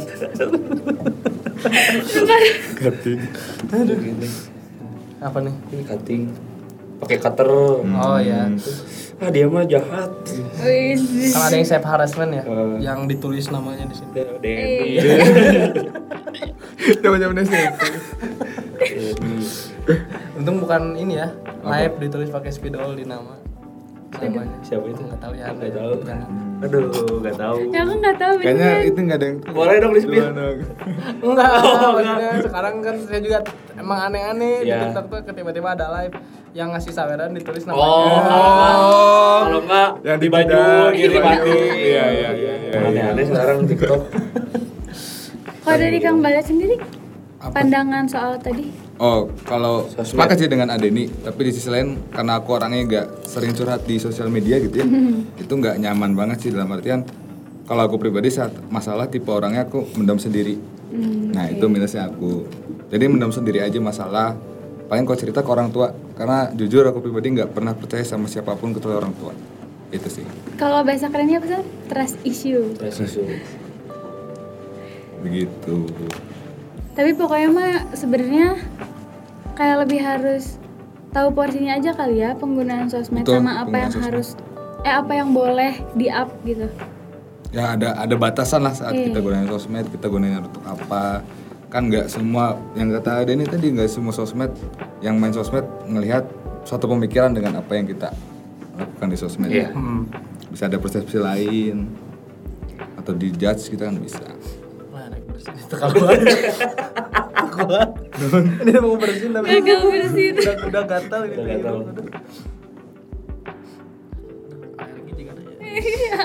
Speaker 5: Cutting.
Speaker 3: Gini,
Speaker 2: apa nih
Speaker 3: ini cutting pakai cutter
Speaker 2: oh ya
Speaker 3: ah dia mah jahat
Speaker 4: Wih.
Speaker 2: kan ada yang save harassment ya
Speaker 3: Eh.
Speaker 2: yang ditulis namanya di sini
Speaker 3: Denny
Speaker 2: Iya.
Speaker 5: Jaman-jaman SMP.
Speaker 3: Denny
Speaker 2: untung bukan ini ya live ditulis pakai spidol di nama namanya
Speaker 3: siapa itu
Speaker 2: nggak tahu ya
Speaker 3: nggak
Speaker 2: ada.
Speaker 3: tahu
Speaker 2: Jangan.
Speaker 3: aduh nggak tahu
Speaker 4: Ya aku nggak tahu
Speaker 5: Kayaknya
Speaker 4: beneran.
Speaker 5: itu nggak ada yang
Speaker 3: boleh dong di spill
Speaker 5: Duluan dong.
Speaker 2: Enggak, maksudnya sekarang kan saya juga emang aneh-aneh
Speaker 3: Iya.
Speaker 2: di TikTok tuh tiba-tiba ada live yang ngasih saweran ditulis namanya.
Speaker 3: oh kalau nggak- kalau nggak
Speaker 5: Iya. Oh. Yang
Speaker 3: di baju
Speaker 5: dipindah,
Speaker 3: gitu di
Speaker 5: di baju.
Speaker 3: baju
Speaker 5: Iya, iya, iya, iya,
Speaker 3: aneh-aneh sekarang tiktok
Speaker 4: Kalau dari Kang
Speaker 5: gitu.
Speaker 4: Balat sendiri pandangan soal tadi?
Speaker 5: Oh, kalau
Speaker 3: Sosmed.
Speaker 5: sepakat sih dengan Adeni, tapi di sisi lain karena aku orangnya nggak sering curhat di sosial media gitu ya, itu nggak nyaman banget sih dalam artian kalau aku pribadi saat masalah tipe orangnya aku mendam sendiri. nah itu minusnya aku. Jadi mendam sendiri aja masalah. Paling kalau cerita ke orang tua, karena jujur aku pribadi nggak pernah percaya sama siapapun kecuali orang tua. Itu sih.
Speaker 4: Kalau bahasa kerennya apa sih? Trust issue.
Speaker 3: Terus susu.
Speaker 5: Begitu.
Speaker 4: Tapi pokoknya mah sebenarnya kayak lebih harus tahu porsinya aja kali ya penggunaan sosmed
Speaker 5: Betul,
Speaker 4: sama apa
Speaker 5: penggunaan
Speaker 4: yang
Speaker 5: sosmed.
Speaker 4: harus eh apa yang boleh di up gitu.
Speaker 5: ya ada ada batasan lah saat
Speaker 4: Iya.
Speaker 5: kita gunain sosmed kita gunain untuk apa kan nggak semua yang kata ada ini tadi nggak semua sosmed yang main sosmed ngelihat suatu pemikiran dengan apa yang kita lakukan di sosmed
Speaker 3: Iya.
Speaker 2: Hmm.
Speaker 5: bisa ada persepsi lain atau di judge kita kan bisa
Speaker 2: Nah, naik bersin itu kalau banget. Ini mau bersin tapi
Speaker 4: Gagal bersin.
Speaker 2: udah udah gatal ini.
Speaker 3: Udah gatal.
Speaker 2: Alergi juga ada ya.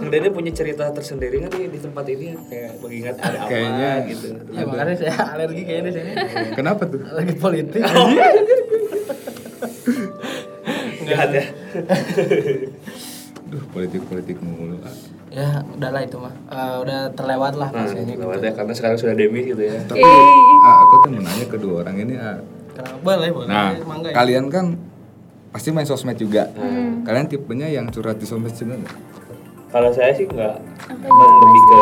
Speaker 3: Kang Dede punya cerita tersendiri nggak nih di tempat ini ya? kayak mengingat ada apa
Speaker 5: Kayaknya
Speaker 3: gitu.
Speaker 2: Ya makanya saya alergi kayaknya di sini.
Speaker 5: Kenapa tuh?
Speaker 2: Alergi politik.
Speaker 3: Jahat ya.
Speaker 5: Duh, politik-politik mulu. ah.
Speaker 2: ya udahlah itu mah. Eh, udah terlewat lah
Speaker 3: Nah,
Speaker 2: pastinya.
Speaker 5: gitu.
Speaker 3: lewat ya karena sekarang sudah demi gitu ya.
Speaker 5: Tapi
Speaker 4: Iya,
Speaker 5: ah, aku tuh mau nanya kedua orang ini. ah.
Speaker 2: Kenapa boleh boleh.
Speaker 5: Nah,
Speaker 2: Mangga ya. Hmm.
Speaker 5: kalian kan pasti main sosmed juga. Kalian tipenya yang curhat di sosmed juga nggak?
Speaker 3: Kalau saya sih nggak emang lebih ke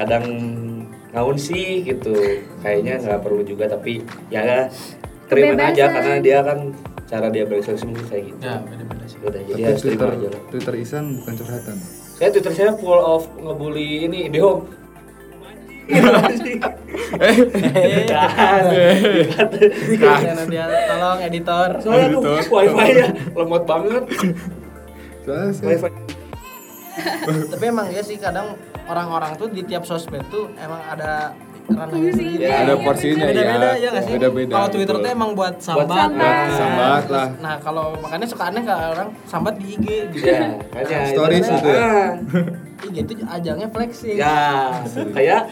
Speaker 3: kadang ngaun sih gitu. Kayaknya nggak perlu juga tapi ya terimain aja
Speaker 4: Kebebasan.
Speaker 3: karena dia kan cara dia berekspresi mungkin kayak gitu.
Speaker 2: Ya, beda-beda sih.
Speaker 3: Udah, jadi
Speaker 5: Tapi
Speaker 3: harus terima
Speaker 5: Twitter,
Speaker 3: aja lah.
Speaker 5: Twitter Isan bukan curhatan.
Speaker 3: Saya Twitter saya full of ngebully ini Dehong.
Speaker 5: Eh.
Speaker 3: Jangan.
Speaker 2: Iya, Karena dia tolong editor.
Speaker 3: Iya. Soalnya tuh wifi-nya lemot banget.
Speaker 5: Soalnya saya-
Speaker 3: Wifi
Speaker 2: Tapi emang ya sih kadang orang-orang tuh di tiap sosmed tuh emang ada ranahnya sendiri.
Speaker 3: Ya,
Speaker 5: ada porsinya ya.
Speaker 2: beda-beda ya nggak sih?
Speaker 5: Beda-beda. gitu.
Speaker 2: Kalau Twitter
Speaker 5: betul.
Speaker 2: tuh emang buat sambat,
Speaker 4: sambat.
Speaker 2: kan.
Speaker 5: Sambat
Speaker 2: Terus,
Speaker 5: lah.
Speaker 2: Nah kalau makanya suka aneh kalau orang sambat di IG gitu.
Speaker 5: Iya.
Speaker 3: ya, makanya itu
Speaker 5: Stories
Speaker 3: kan.
Speaker 5: gitu ya?
Speaker 3: Ah.
Speaker 2: IG itu ajangnya flexing.
Speaker 5: Iya.
Speaker 3: Ya, kayak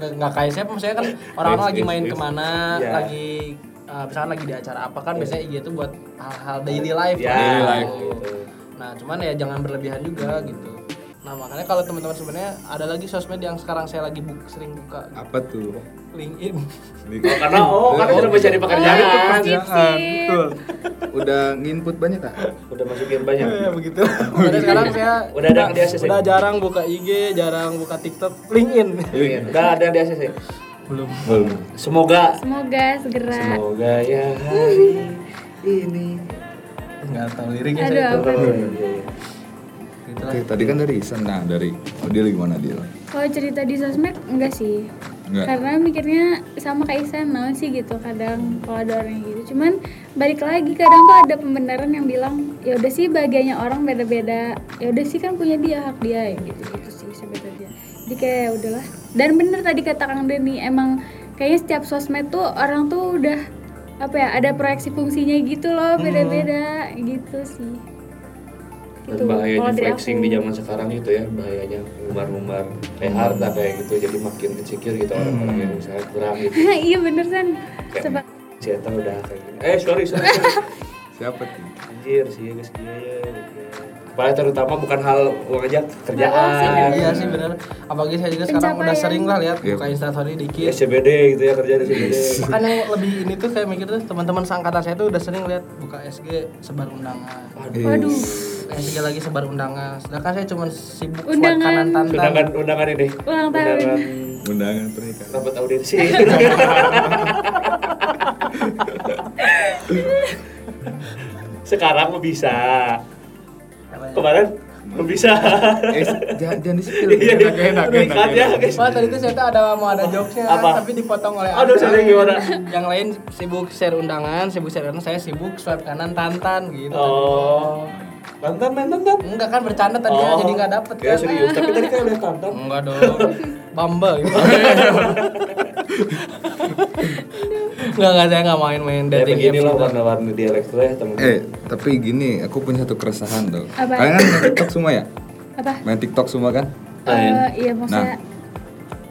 Speaker 2: nggak nggak kayak saya, saya kan orang-orang lagi main kemana,
Speaker 5: Iya.
Speaker 3: Ya.
Speaker 2: lagi eh, misalkan lagi di acara apa kan biasanya IG itu buat hal-hal daily life.
Speaker 3: Ya,
Speaker 2: kan.
Speaker 5: Iya. daily life.
Speaker 3: gitu.
Speaker 2: Nah cuman ya jangan berlebihan juga gitu. Nah makanya kalau teman-teman sebenarnya ada lagi sosmed yang sekarang saya lagi bu- sering buka gitu.
Speaker 5: apa tuh?
Speaker 2: LinkedIn.
Speaker 3: Oh, karena oh, karena sudah mencari pekerjaan.
Speaker 5: Iya, Pekerjaan, betul. Udah nginput banyak kak?
Speaker 3: Udah masukin banyak.
Speaker 2: begitu. Makanya sekarang saya
Speaker 3: Udah ada yang di ACC.
Speaker 2: udah jarang buka IG, jarang buka TikTok, LinkedIn.
Speaker 3: Iya, Udah ada yang di ACC.
Speaker 2: Belum.
Speaker 5: Belum.
Speaker 3: Semoga
Speaker 4: Semoga segera.
Speaker 3: semoga ya hari Iya, ini.
Speaker 2: Nggak tahu liriknya
Speaker 4: Aduh,
Speaker 2: saya.
Speaker 4: apa
Speaker 3: iya,
Speaker 4: tuh?
Speaker 2: Gitu lah.
Speaker 5: Oke, tadi kan dari Isan, nah dari Odil gimana Dil?
Speaker 4: Kalau cerita di sosmed enggak sih.
Speaker 5: Enggak.
Speaker 4: Karena mikirnya sama kayak Isan naon sih gitu kadang kalau ada orang yang gitu. Cuman balik lagi kadang tuh ada pembenaran yang bilang ya udah sih bahagianya orang beda-beda. Ya udah sih kan punya dia hak dia gitu gitu sih sebenarnya. Jadi kayak ya udahlah. Dan bener tadi kata Kang Denny emang kayaknya setiap sosmed tuh orang tuh udah apa ya ada proyeksi fungsinya gitu loh
Speaker 3: Hmm.
Speaker 4: beda-beda gitu sih. Gitu,
Speaker 3: Dan bahayanya
Speaker 4: Kalau dari
Speaker 3: flexing
Speaker 4: aku.
Speaker 3: di zaman sekarang itu ya, bahayanya ngumbar-ngumbar kayak harta kayak gitu jadi makin insecure gitu orang-orang yang misalnya kurang gitu.
Speaker 4: iya bener San. Sebab
Speaker 3: Saya tahu udah kayak gini. Eh, sorry, sorry. sorry.
Speaker 5: Siapa tuh?
Speaker 3: Anjir sih guys dia ya. Apalagi terutama bukan hal uang aja kerjaan.
Speaker 2: Iya sih benar. Apalagi saya juga sekarang udah
Speaker 4: Pencapaian.
Speaker 2: sering lah lihat
Speaker 5: Iya.
Speaker 2: buka instastory dikit.
Speaker 3: SCBD gitu ya kerja di sini.
Speaker 2: Makanya yang lebih ini tuh saya mikir tuh teman-teman seangkatan saya tuh udah sering lihat buka SG sebar undangan.
Speaker 4: waduh.
Speaker 2: SG lagi sebar undangan. Sedangkan saya cuma sibuk buat
Speaker 4: Undangan.
Speaker 2: kanan
Speaker 3: Undangan
Speaker 2: tantan.
Speaker 3: undangan ini.
Speaker 4: Ulang tahun.
Speaker 3: Undangan
Speaker 5: Undangan pernikahan.
Speaker 3: rapat audiensi. Sekarang mah bisa.
Speaker 2: ya?
Speaker 3: Kemarin belum bisa.
Speaker 5: Eh, jangan, jangan disipil.
Speaker 3: Iya,
Speaker 5: Enak, enak, enak,
Speaker 3: Dikat ya,
Speaker 5: enak.
Speaker 3: guys.
Speaker 2: Wah tadi tuh saya tuh ada mau ada jokesnya
Speaker 3: Apa?
Speaker 2: tapi dipotong oleh
Speaker 3: Aduh,
Speaker 2: Anda.
Speaker 3: sorry, gimana?
Speaker 2: Yang lain sibuk share undangan, sibuk share undangan, saya sibuk swipe kanan tantan gitu.
Speaker 3: Oh. Tantan, tantan, tantan.
Speaker 2: Enggak kan bercanda tadi ya, jadi nggak dapet
Speaker 3: Ya
Speaker 2: kan.
Speaker 3: serius, tapi tadi kan udah tantan.
Speaker 2: Enggak dong. Bamba gitu. Enggak enggak saya enggak main-main
Speaker 3: Ya
Speaker 2: dating
Speaker 3: begini
Speaker 2: apps
Speaker 3: loh
Speaker 2: gitu.
Speaker 3: warna-warni dialek tuh ya temen
Speaker 5: Eh, tapi gini, aku punya satu keresahan tuh.
Speaker 4: Apa?
Speaker 5: Kalian kan main TikTok semua ya?
Speaker 4: Apa?
Speaker 5: Main TikTok semua kan?
Speaker 4: Eh, iya maksudnya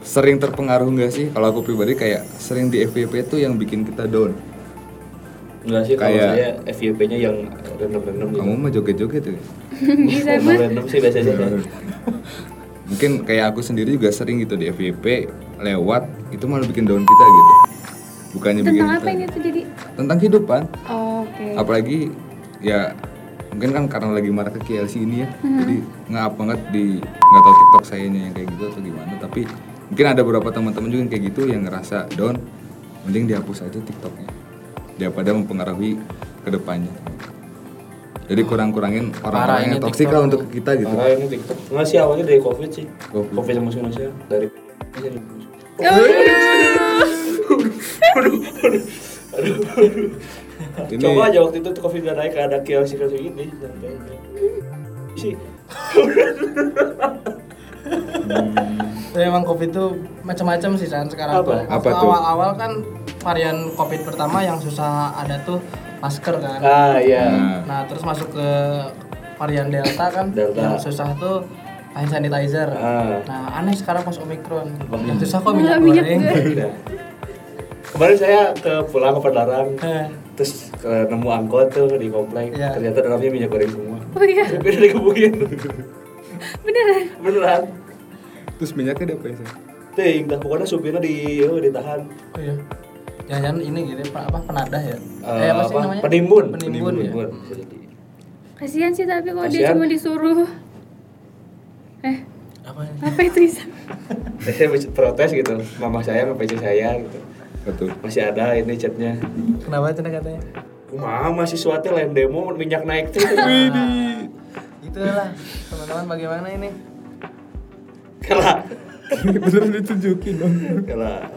Speaker 5: Sering terpengaruh nggak sih? Kalau aku pribadi kayak sering di FYP tuh yang bikin kita down.
Speaker 3: Enggak sih kalau
Speaker 5: Kayak-
Speaker 3: saya FYP-nya yang random-random gitu.
Speaker 5: Kamu mah joget-joget ya? tuh.
Speaker 4: bisa
Speaker 3: Random
Speaker 4: mah
Speaker 3: random sih biasanya.
Speaker 5: Mungkin kayak aku sendiri juga sering gitu di FYP lewat itu malah bikin down kita gitu. Bukannya bikin
Speaker 4: tentang
Speaker 5: kita
Speaker 4: apa ini tuh jadi
Speaker 5: tentang kehidupan.
Speaker 4: Oh, oke.
Speaker 5: apalagi ya mungkin kan karena lagi marah ke KLC ini ya jadi nggak banget di nggak tahu TikTok sayanya yang kayak gitu atau gimana tapi mungkin ada beberapa teman-teman juga yang kayak gitu yang ngerasa down mending dihapus aja TikToknya daripada mempengaruhi kedepannya jadi kurang-kurangin
Speaker 2: Parah
Speaker 5: orang-orang
Speaker 2: ini
Speaker 5: yang toksik lah untuk kita gitu
Speaker 3: Karena ini TikTok. Enggak sih awalnya dari Covid sih.
Speaker 5: Covid.
Speaker 3: Covid sama Indonesia dari Aduh, aduh, aduh.
Speaker 5: Ini-
Speaker 3: Coba aja waktu itu tuh Covid udah naik ada kios kios gini sampai sih.
Speaker 2: Tapi emang covid itu macam-macam sih San sekarang
Speaker 3: Apa?
Speaker 2: tuh. Waktu
Speaker 5: Apa tuh?
Speaker 2: Awal-awal kan varian covid pertama yang susah ada tuh masker kan.
Speaker 3: Ah iya.
Speaker 5: nah,
Speaker 2: Nah terus masuk ke varian delta kan
Speaker 3: Delta.
Speaker 2: yang susah tuh hand sanitizer.
Speaker 3: Ah.
Speaker 2: Nah, aneh sekarang pas Omikron.
Speaker 3: Wah.
Speaker 2: Yang susah kok minyak
Speaker 4: Minyak
Speaker 2: goreng.
Speaker 4: goreng.
Speaker 3: Nah. Kemarin saya ke pulang ke Padalarang,
Speaker 2: Eh,
Speaker 3: terus ke, nemu angkot tuh di komplek.
Speaker 2: Iya.
Speaker 3: Ternyata dalamnya minyak goreng semua.
Speaker 4: Oh iya,
Speaker 3: Tapi udah dikebukin.
Speaker 4: beneran.
Speaker 3: Beneran.
Speaker 5: Terus minyaknya diapain sih?
Speaker 3: Ting, dah pokoknya supirnya di oh, ditahan.
Speaker 2: Oh iya. Jangan ini gitu apa, apa penadah ya?
Speaker 3: Eh,
Speaker 2: apa sih
Speaker 3: apa?
Speaker 2: namanya?
Speaker 3: Penimbun.
Speaker 2: Penimbun, ya.
Speaker 3: Jadi,
Speaker 4: Kasihan sih tapi kalau dia
Speaker 3: Kasihan.
Speaker 4: cuma disuruh. Eh,
Speaker 2: Apa ini?
Speaker 4: apa itu Isam?
Speaker 3: Saya protes gitu, mama saya, sama PC saya gitu.
Speaker 5: Betul.
Speaker 3: Masih ada ini chatnya.
Speaker 2: Kenapa cina katanya?
Speaker 3: Mama mahasiswa teh lain demo minyak naik tuh.
Speaker 2: Nah, itulah teman-teman bagaimana ini?
Speaker 3: Kalah.
Speaker 5: Beneran ditunjukin dong.
Speaker 3: Eh. Kalah.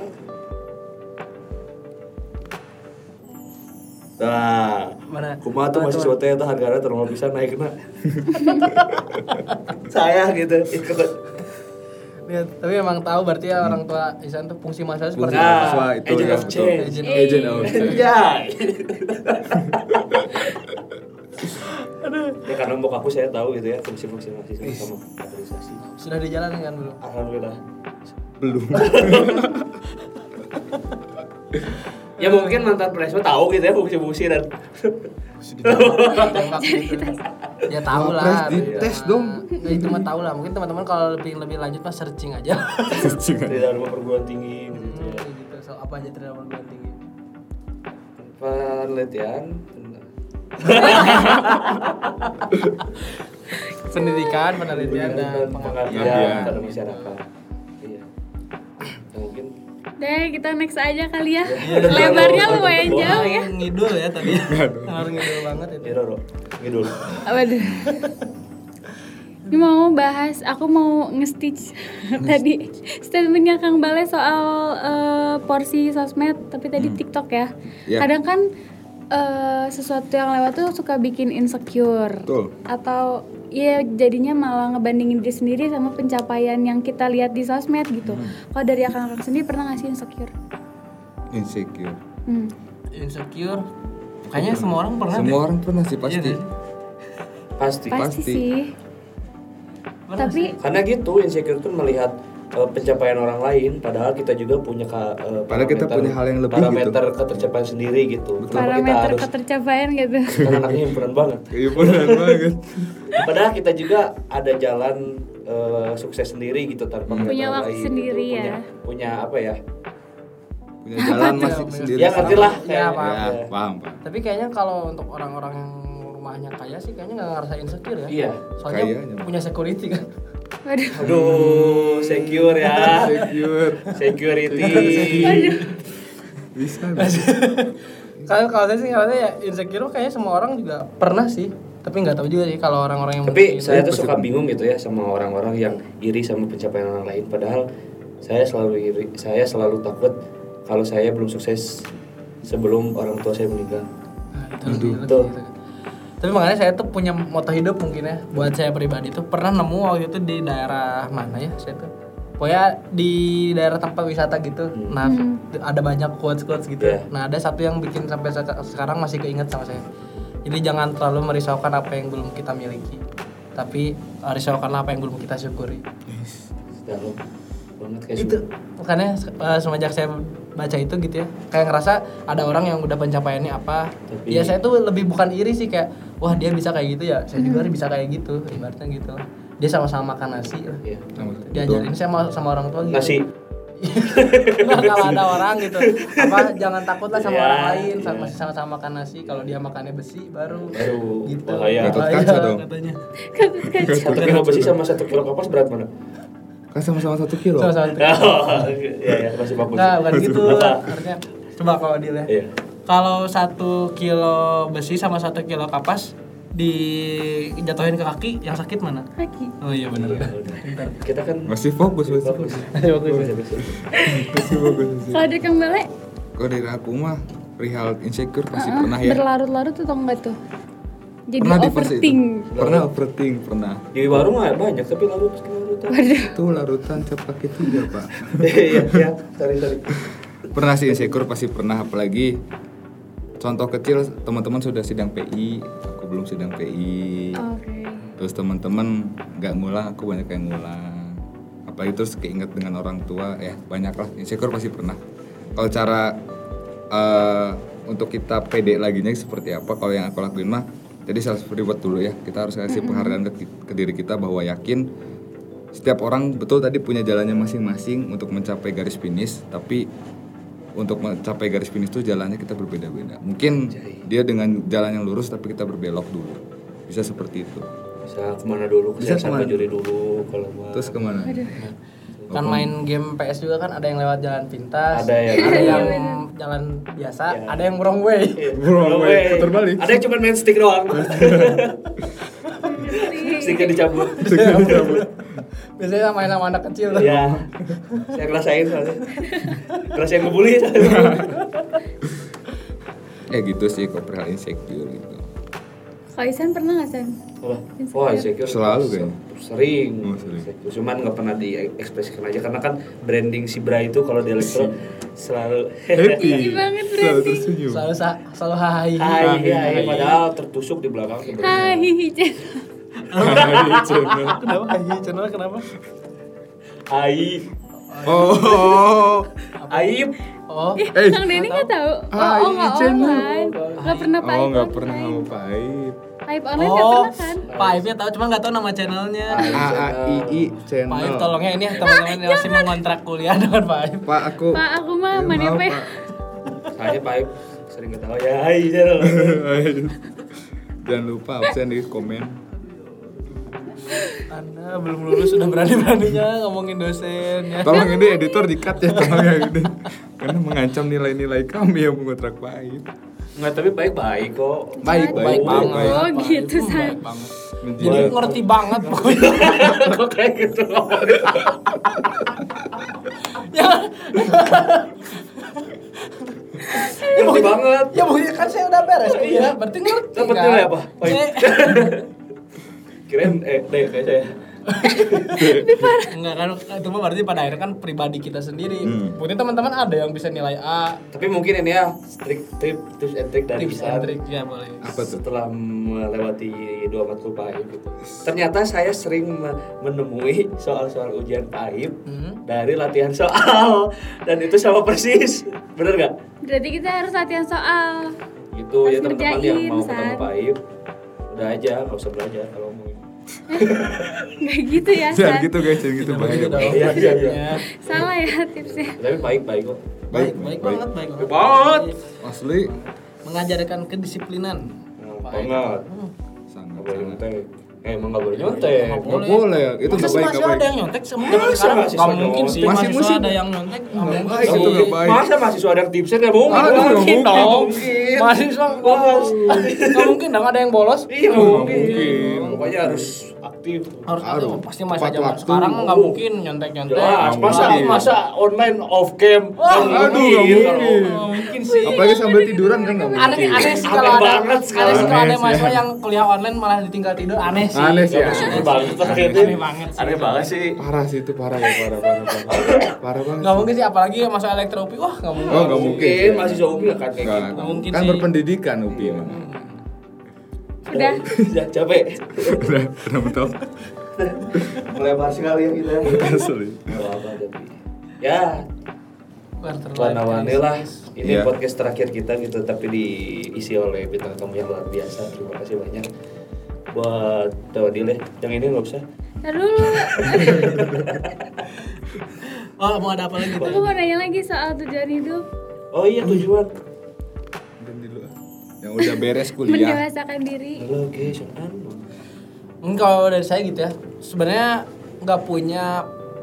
Speaker 3: Nah,
Speaker 2: Mana?
Speaker 3: kumaha tuh
Speaker 2: Mana,
Speaker 3: mahasiswa teh eta hargana teu nol pisan naikna. saya gitu. ikut.
Speaker 2: Lihat, tapi emang tahu berarti ya orang tua Isan tuh fungsi masa seperti
Speaker 3: Nah,
Speaker 2: apa?
Speaker 5: Mahasiswa itu
Speaker 3: agent
Speaker 5: ya,
Speaker 3: of
Speaker 5: betul.
Speaker 3: change.
Speaker 2: Agent-
Speaker 5: Agent of change.
Speaker 3: Ya. Ya karena mbok aku saya tahu gitu ya fungsi-fungsi mahasiswa sama kaderisasi.
Speaker 2: Sudah kan, dijalankan belum?
Speaker 3: Alhamdulillah.
Speaker 5: Belum.
Speaker 3: Ya mungkin mantan presma tahu gitu ya fungsi-fungsi dan
Speaker 2: Tembak gitu. Ya tahu
Speaker 5: Wapres
Speaker 2: lah. tapi
Speaker 5: dites
Speaker 2: mah-
Speaker 5: dong.
Speaker 2: Ya, itu mah tahu lah. Mungkin teman-teman kalau lebih lebih lanjut mah searching aja.
Speaker 3: di dalam perguruan tinggi gitu
Speaker 2: Hmm,
Speaker 3: ya.
Speaker 2: gitu. So, apa aja tidak perguruan tinggi.
Speaker 3: Penelitian
Speaker 2: Pendidikan, penelitian dan
Speaker 3: pengabdian
Speaker 5: Pengabdian.
Speaker 3: pada masyarakat. Iya. Ya, mungkin
Speaker 4: Deh, kita next aja kali ya.
Speaker 3: Iya.
Speaker 4: Lebarnya
Speaker 3: Iya.
Speaker 4: lumayan jauh ya.
Speaker 2: ngidul ya tadi. Harus ngidul banget itu.
Speaker 3: ya Roro, ngidul.
Speaker 4: Waduh. Ini mau bahas, aku mau nge-stitch tadi statementnya Kang Bale soal eh, porsi sosmed, tapi tadi TikTok ya.
Speaker 5: Iya.
Speaker 4: Kadang kan eh, sesuatu yang lewat tuh suka bikin insecure.
Speaker 5: Betul.
Speaker 4: Atau ya jadinya malah ngebandingin diri sendiri sama pencapaian yang kita lihat di sosmed gitu.
Speaker 5: Hmm.
Speaker 4: Kalau dari akang-akang sendiri pernah ngasih insecure?
Speaker 5: Insecure.
Speaker 4: Hmm.
Speaker 2: Insecure. Kayaknya semua orang pernah. deh.
Speaker 5: Semua orang pernah sih
Speaker 2: Iya,
Speaker 5: pasti.
Speaker 2: deh.
Speaker 3: Pasti.
Speaker 4: Pasti,
Speaker 5: Pasti.
Speaker 4: sih.
Speaker 2: Pernah
Speaker 4: tapi
Speaker 3: Karena gitu insecure tuh melihat uh, pencapaian orang lain, padahal kita juga punya ka, uh,
Speaker 5: Padahal kita
Speaker 3: parameter-
Speaker 5: punya hal yang lebih gitu.
Speaker 3: parameter ketercapaian sendiri gitu. Kenapa kita
Speaker 4: parameter
Speaker 3: harus
Speaker 4: ketercapaian gitu.
Speaker 3: kan anaknya himpunan banget.
Speaker 5: Iya beneran banget.
Speaker 3: Padahal kita juga ada jalan uh, sukses sendiri gitu tanpa
Speaker 5: Hmm.
Speaker 3: melihat
Speaker 4: Punya
Speaker 3: orang
Speaker 4: waktu
Speaker 3: lain,
Speaker 4: sendiri
Speaker 3: gitu.
Speaker 4: ya.
Speaker 3: Punya, punya apa ya?
Speaker 5: Punya jalan masih sendiri.
Speaker 3: Ya ngerti lah.
Speaker 2: Ya,
Speaker 3: kayak-
Speaker 5: Ya,
Speaker 2: paham.
Speaker 3: ya.
Speaker 5: paham, paham.
Speaker 2: Tapi kayaknya kalau untuk orang-orang yang rumahnya kaya sih kayaknya nggak ngerasain insecure ya.
Speaker 3: Iya.
Speaker 2: Soalnya
Speaker 5: Kayaknya.
Speaker 2: punya security kan.
Speaker 4: Waduh.
Speaker 3: Aduh, secure ya.
Speaker 5: Insecure.
Speaker 3: Security.
Speaker 5: Bisa. bisa.
Speaker 2: Kalau kalau saya sih ngerasa ya insecure kayaknya semua orang juga pernah sih. Tapi nggak tahu juga sih kalau orang-orang yang
Speaker 3: Tapi
Speaker 2: mungkin-
Speaker 3: saya tuh suka bingung gitu ya sama orang-orang yang iri sama pencapaian orang lain. Padahal saya selalu iri, saya selalu takut kalau saya belum sukses sebelum orang tua saya meninggal.
Speaker 2: Nah, itu lebih- lebih gitu. Tapi makanya saya tuh punya moto hidup mungkin ya buat saya pribadi tuh pernah nemu waktu itu di daerah mana ya saya tuh pokoknya di daerah tempat wisata gitu. Nah ada banyak quotes quotes gitu.
Speaker 3: Iya.
Speaker 2: Nah ada satu yang bikin sampai seka- sekarang masih keinget sama saya. Jadi jangan terlalu merisaukan apa yang belum kita miliki, tapi eh, risaukanlah apa yang belum kita syukuri.
Speaker 3: Dalam banget kayak
Speaker 2: itu
Speaker 3: semua.
Speaker 2: makanya eh, semenjak saya baca itu gitu ya kayak ngerasa ada orang yang udah pencapaiannya apa
Speaker 3: Tapi-
Speaker 2: ya saya tuh lebih bukan iri sih kayak wah dia bisa kayak gitu ya saya juga
Speaker 5: Hmm.
Speaker 2: bisa kayak gitu ibaratnya gitu lah. dia sama-sama makan nasi lah Gitu.
Speaker 3: Iya.
Speaker 2: diajarin saya sama, sama orang tua gitu
Speaker 3: Nasi.
Speaker 2: Nah, kalau ada orang gitu apa jangan takut lah sama
Speaker 3: Iya,
Speaker 2: orang lain sama
Speaker 3: iya.
Speaker 2: masih sama-sama makan nasi kalau dia makannya besi baru
Speaker 3: Baru
Speaker 2: gitu
Speaker 3: bahaya.
Speaker 5: Gatot kaca dong.
Speaker 2: katanya
Speaker 3: Satu kilo besi sama satu kilo kapas berat mana?
Speaker 5: Kan sama-sama satu kilo.
Speaker 2: sama-sama
Speaker 3: Iya, ya, masih bagus.
Speaker 2: Nggak, bukan gitu
Speaker 3: Apa?
Speaker 2: artinya coba kalau dilihat
Speaker 3: Iya.
Speaker 2: kalau satu kilo besi sama satu kilo kapas dijatuhin ke kaki yang sakit mana
Speaker 4: Kaki.
Speaker 2: oh iya benar
Speaker 3: Iya, udah. Kita kan
Speaker 5: Masih fokus, masih
Speaker 3: bagus.
Speaker 5: fokus.
Speaker 3: Bagus.
Speaker 5: Masih fokus. masih.
Speaker 4: Kalau dari Kang Bale,
Speaker 5: Kalau dari aku mah perihal insecure pasti pernah ya.
Speaker 4: berlarut-larut atau enggak tuh? Jadi
Speaker 5: pernah di fase itu.
Speaker 4: overthink.
Speaker 5: Pernah overthink, pernah.
Speaker 3: Di warung mah banyak tapi larut larut.
Speaker 4: Waduh.
Speaker 5: Itu larutan cepat itu ya, Pak.
Speaker 3: Iya, iya. Sorry, sorry.
Speaker 5: Pernah sih insecure pasti pernah apalagi contoh kecil teman-teman sudah sidang PI, aku belum sidang PI
Speaker 4: Oke.
Speaker 5: terus teman-teman nggak ngulang aku banyak yang ngulang apalagi terus keinget dengan orang tua ya banyak lah insecure pasti pernah kalau cara eh, untuk kita pede lagi seperti apa kalau yang aku lakuin mah jadi self reward dulu ya kita harus kasih penghargaan ke, ke diri kita bahwa yakin setiap orang betul tadi punya jalannya masing-masing untuk mencapai garis finish tapi untuk mencapai garis finish itu jalannya kita berbeda-beda mungkin dia dengan jalan yang lurus tapi kita berbelok dulu bisa seperti itu
Speaker 3: bisa kemana dulu bisa
Speaker 5: Bisa
Speaker 3: sampai
Speaker 5: kemana?
Speaker 3: juri dulu kalau mau
Speaker 5: Terus kemana?
Speaker 2: kan main game PS juga kan ada yang lewat jalan pintas
Speaker 3: Ada ya. Iya, yang-
Speaker 2: ada yang jalan biasa
Speaker 3: Iya.
Speaker 2: ada yang wrong way
Speaker 5: Wrong way, putar
Speaker 3: Oh,
Speaker 5: balik.
Speaker 3: eh, Ada yang cuma main stick doang. Sticknya dicabut.
Speaker 2: biasanya main sama anak kecil tuh.
Speaker 3: ya. Saya ngerasain soalnya. Ngerasain ngebully.
Speaker 5: Eh gitu sih kok perihal insecure gitu.
Speaker 4: Kalau Isan pernah nggak San?
Speaker 3: Wah, wah, insecure
Speaker 5: Selalu kayaknya.
Speaker 3: Sering.
Speaker 5: Oh, sering.
Speaker 3: Insecure. Cuman nggak pernah diekspresikan aja karena kan branding si Bra itu kalau di elektro selalu
Speaker 5: Happy.
Speaker 4: banget,
Speaker 5: Selalu tersenyum.
Speaker 2: selalu sa- selalu hai
Speaker 3: Hai, hai, padahal tertusuk di belakang. tuh.
Speaker 4: Hai, Ijan.
Speaker 2: kenapa hai channel kenapa
Speaker 3: Hai,
Speaker 5: Oh.
Speaker 3: aib.
Speaker 2: oh
Speaker 4: Ih,
Speaker 5: Eh,
Speaker 4: Kang Denny nggak tahu? Oh,
Speaker 5: Hai,
Speaker 4: oh nggak
Speaker 5: Ijen.
Speaker 4: online. Nggak pernah Pak
Speaker 5: Oh
Speaker 4: Ipan
Speaker 5: nggak pernah
Speaker 4: online.
Speaker 5: sama pahit.
Speaker 4: Aib online nggak
Speaker 2: oh
Speaker 4: pernah kan?
Speaker 2: Pak Aibnya tahu cuma nggak tahu nama channelnya
Speaker 3: Ah,
Speaker 5: A A I I
Speaker 2: Pak Aib
Speaker 5: channel.
Speaker 2: tolongnya ini ya, teman-teman yang masih mau kontrak kuliah dengan Pak Aib
Speaker 5: Pak aku. Eh,
Speaker 4: Pak, aku mah mana
Speaker 5: maaf,
Speaker 4: apa ya?
Speaker 5: Pak.
Speaker 3: Saya Pak Aib sering ketawa ya. Hai, Jel.
Speaker 5: Jangan lupa absen di komen.
Speaker 2: Anda belum lulus sudah berani-beraninya ngomongin dosen ya
Speaker 5: Tolong ini editor dikat ya tolong ya ini. Karena mengancam nilai-nilai kami yang mengontrak pahit.
Speaker 3: Nggak, tapi baik-baik kok.
Speaker 5: Baik, baik,
Speaker 2: baik banget
Speaker 5: baik.
Speaker 4: Oh,
Speaker 2: Pak Aib.
Speaker 4: gitu,
Speaker 2: Hmm,
Speaker 4: San.
Speaker 2: baik banget jadi
Speaker 5: Menjilat.
Speaker 2: ngerti banget pokoknya
Speaker 3: Kok kayak gitu ngomongnya? Ngerti banget.
Speaker 2: ya buktinya kan saya udah beres kuliah berarti ngerti
Speaker 3: Dapat
Speaker 2: kan?
Speaker 3: nilai apa? Baik.
Speaker 2: Eh,
Speaker 3: Kirain eh deh kayak saya.
Speaker 2: Enggak kan itu mah berarti pada akhirnya kan pribadi kita sendiri.
Speaker 5: Hmm.
Speaker 2: Mungkin teman-teman ada yang bisa nilai A,
Speaker 3: Tapi mungkin ini ya trik trik tips and trick dari
Speaker 2: tips
Speaker 3: Isan
Speaker 2: and trick ya boleh.
Speaker 5: Apa tuh?
Speaker 3: setelah melewati dua matkul Pak Aib gitu. Ternyata saya sering me- menemui soal-soal ujian Pak Aib
Speaker 2: Hmm.
Speaker 3: dari latihan soal dan itu sama persis. Bener nggak?
Speaker 4: Berarti kita harus latihan soal.
Speaker 3: Gitu ya
Speaker 4: Harus
Speaker 3: teman-teman yang
Speaker 4: ngerjain,
Speaker 3: mau ketemu
Speaker 4: San.
Speaker 3: Pak Aib. Udah aja, nggak usah belajar kalau mau.
Speaker 4: Nggak gitu ya,
Speaker 5: Jangan
Speaker 4: San.
Speaker 5: gitu guys, jangan gitu bahaya.
Speaker 2: Gitu dong.
Speaker 3: Iya, iya, iya.
Speaker 2: Ya.
Speaker 4: Salah ya tipsnya.
Speaker 3: Tapi baik-baik kok.
Speaker 2: Baik, baik banget, baik
Speaker 3: Baik banget.
Speaker 5: Asli.
Speaker 2: Mengajarkan kedisiplinan.
Speaker 3: Nah,
Speaker 2: Pak Aib.
Speaker 3: banget.
Speaker 5: Sangat.
Speaker 3: Nggak boleh
Speaker 5: sangat.
Speaker 3: nyontek. Eh, emang nggak boleh
Speaker 2: Iya,
Speaker 3: nyontek.
Speaker 2: Nggak
Speaker 5: Nggak boleh ya, itu nggak
Speaker 2: Masa
Speaker 5: baik,
Speaker 2: masih
Speaker 5: nggak
Speaker 2: ada
Speaker 5: baik.
Speaker 2: yang nyontek sama zaman
Speaker 3: Masa
Speaker 2: sekarang?
Speaker 3: mahasiswa
Speaker 2: Nggak mungkin
Speaker 3: nyontek?
Speaker 2: sih
Speaker 5: Masih
Speaker 2: mahasiswa
Speaker 5: musim.
Speaker 2: ada yang nyontek. nggak
Speaker 5: Nggak
Speaker 2: mungkin
Speaker 5: baik,
Speaker 2: sih.
Speaker 5: itu nggak baik.
Speaker 3: Masa mahasiswa ada yang tipsnya nggak mungkin?
Speaker 5: Ah, itu
Speaker 3: Nggak
Speaker 5: nggak
Speaker 3: mungkin
Speaker 5: mungkin.
Speaker 3: dong.
Speaker 2: Mahasiswa bolos. Nggak mungkin dong ada yang bolos.
Speaker 3: Iya
Speaker 5: mungkin.
Speaker 3: mungkin. Pokoknya harus aktif.
Speaker 2: Harus ada.
Speaker 5: Harus.
Speaker 2: Pasti masa
Speaker 5: Tepat
Speaker 2: zaman
Speaker 5: waktu.
Speaker 2: sekarang nggak mungkin nyontek-nyontek.
Speaker 3: Jelas. Masa
Speaker 5: mungkin.
Speaker 3: masa online off cam?
Speaker 2: Wah,
Speaker 3: Nggak
Speaker 5: aduh, nggak
Speaker 3: gitu.
Speaker 5: mungkin.
Speaker 3: kalau-
Speaker 2: Nggak mungkin sih.
Speaker 5: Apalagi sambil tiduran kan nggak mungkin.
Speaker 2: aneh aneh sih
Speaker 3: Aneh
Speaker 2: kalau ada
Speaker 3: banget
Speaker 2: aneh
Speaker 3: sekarang.
Speaker 2: sih kalau ada
Speaker 5: Aneh sih,
Speaker 2: mahasiswa
Speaker 5: ya.
Speaker 2: yang kuliah online malah ditinggal tidur aneh sih
Speaker 5: Aneh
Speaker 3: Nggak
Speaker 5: sih. ya.
Speaker 3: bersyukur banget.
Speaker 2: Aneh banget sih.
Speaker 3: Aneh banget sih.
Speaker 5: Parah sih itu parah ya parah parah parah. Parah banget.
Speaker 2: nggak mungkin sih apalagi masuk elektropi wah nggak mungkin
Speaker 5: Oh nggak mungkin.
Speaker 3: Mungkin mahasiswa UPI nggak kayak
Speaker 5: Nggak.
Speaker 3: gitu.
Speaker 2: Nggak mungkin
Speaker 5: Kan
Speaker 2: sih.
Speaker 5: berpendidikan UPI mah.
Speaker 4: Udah.
Speaker 3: Ya, capek.
Speaker 5: Udah udah betul.
Speaker 3: Melebar sekali ya kita.
Speaker 5: Asli.
Speaker 3: Nggak apa-apa, tapi. Ya,
Speaker 2: Luar terlalu
Speaker 3: warna-warni lah. Ini
Speaker 5: Iya.
Speaker 3: podcast terakhir kita gitu tapi diisi oleh bintang tamu yang luar biasa. Terima kasih banyak buat Tawadil ya. Yang ini nggak usah.
Speaker 4: Ntar dulu.
Speaker 2: oh mau ada apa lagi tuh
Speaker 4: Aku mau nanya lagi soal tujuan hidup.
Speaker 3: Oh iya tujuan.
Speaker 5: Dan di luar. Yang udah beres kuliah.
Speaker 4: Mendewasakan
Speaker 2: Iya.
Speaker 4: diri.
Speaker 3: Location anu.
Speaker 2: Hmm, kalau dari saya gitu ya sebenarnya nggak punya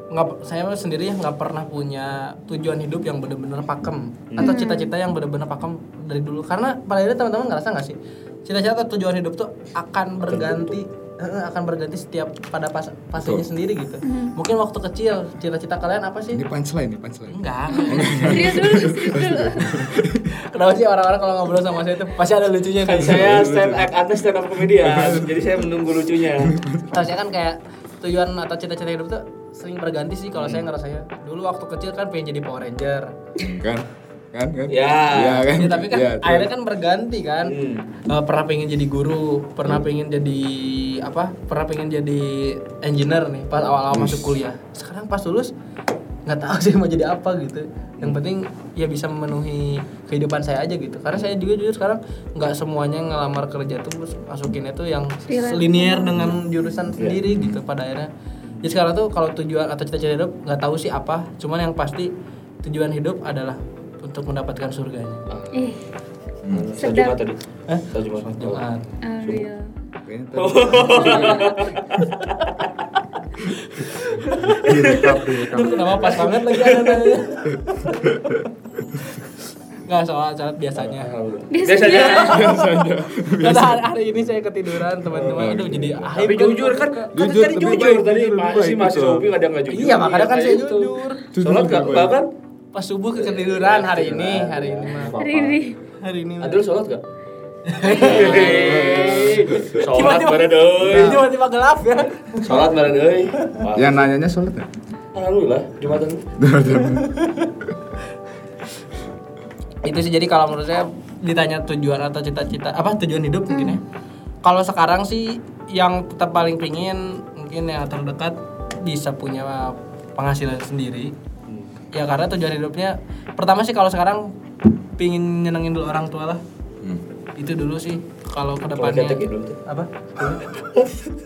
Speaker 2: nggak saya sendiri ya nggak pernah punya tujuan hidup yang bener-bener pakem atau cita-cita yang bener-bener pakem dari dulu karena pada akhirnya teman-teman ngerasa nggak sih cita-cita atau tujuan hidup tuh akan berganti eh, akan berganti setiap pada pas fasenya
Speaker 5: Betul.
Speaker 2: sendiri gitu mungkin waktu kecil cita-cita kalian apa sih
Speaker 5: Ini punchline nih punchline.
Speaker 2: enggak
Speaker 4: Serius dulu, serius dulu.
Speaker 2: kenapa sih orang-orang kalau ngobrol sama saya itu pasti ada lucunya
Speaker 3: Kan
Speaker 2: kan
Speaker 3: saya stand up, anda stand up comedian, jadi saya menunggu lucunya.
Speaker 2: Harusnya kan kayak tujuan atau cita-cita hidup ya. tuh sering berganti sih kalau saya ngerasanya. Dulu waktu kecil kan pengen jadi Power Ranger.
Speaker 5: Kan. kan kan
Speaker 3: Ya.
Speaker 5: kan
Speaker 2: Ya, tapi kan
Speaker 5: Ya, tuh.
Speaker 2: akhirnya kan berganti kan.
Speaker 3: Hmm.
Speaker 2: Eh, pernah pengen jadi guru, pernah pengen jadi apa? Pernah pengen jadi engineer nih pas awal-awal masuk kuliah. Sekarang pas lulus nggak tahu sih mau jadi apa gitu. Yang penting ya bisa memenuhi kehidupan saya aja gitu. Karena saya juga jujur sekarang nggak semuanya ngelamar kerja tuh masukinnya tuh yang
Speaker 4: Freelance.
Speaker 5: Hmm.
Speaker 2: linear dengan jurusan sendiri gitu pada akhirnya. Jadi sekarang tuh kalau tujuan atau cita-cita hidup nggak tahu sih apa, cuman yang pasti tujuan hidup adalah untuk mendapatkan surganya.
Speaker 4: Ih,
Speaker 3: Sholat
Speaker 4: Sedap.
Speaker 3: Jumat tadi.
Speaker 2: Hah?
Speaker 3: Sholat Jumat.
Speaker 2: Jumat.
Speaker 4: Ariel.
Speaker 5: Kayaknya tadi- Direkap, direkap.
Speaker 2: Aduh, kenapa pas banget lagi ada nanya Nggak soal acara biasanya
Speaker 3: Alhamdulillah.
Speaker 4: Biasanya.
Speaker 2: Karena hari, hari ini saya ketiduran teman-teman Aduh jadi aib
Speaker 3: Tapi
Speaker 2: kan.
Speaker 3: jujur kan, kan
Speaker 5: Jujur,
Speaker 3: tadi
Speaker 5: lebih
Speaker 3: jujur
Speaker 5: baik,
Speaker 3: tadi
Speaker 5: jujur, lebih
Speaker 3: Pak, si
Speaker 5: baik,
Speaker 3: Mas
Speaker 5: betul.
Speaker 3: Robi ada yang nggak jujur.
Speaker 2: Iya makanya kan saya
Speaker 3: Kayak gitu.
Speaker 2: jujur
Speaker 3: Sholat nggak,
Speaker 5: Jujur,
Speaker 3: bahkan
Speaker 2: Pas subuh ketiduran hari ini Hari ini mah
Speaker 4: Riri.
Speaker 2: Hari ini mah.
Speaker 3: Adul sholat nggak? Hei, Sholat
Speaker 2: Tiba-tiba-
Speaker 3: bareng euy.
Speaker 2: Tiba-tiba gelap ya
Speaker 3: Sholat bareng euy.
Speaker 5: Yang nanyanya sholat nggak?
Speaker 3: Alhamdulillah Jumatan.
Speaker 2: itu sih jadi kalau menurut saya ditanya tujuan atau cita-cita apa tujuan hidup mungkin ya kalau sekarang sih yang tetap paling pingin mungkin yang terdekat bisa punya penghasilan sendiri ya karena tujuan hidupnya pertama sih kalau sekarang pingin nyenengin dulu orang tua lah
Speaker 5: Hmm.
Speaker 2: itu dulu sih kalau
Speaker 3: Kalau
Speaker 2: kedepannya
Speaker 3: ketek ya dulu tuh.
Speaker 2: apa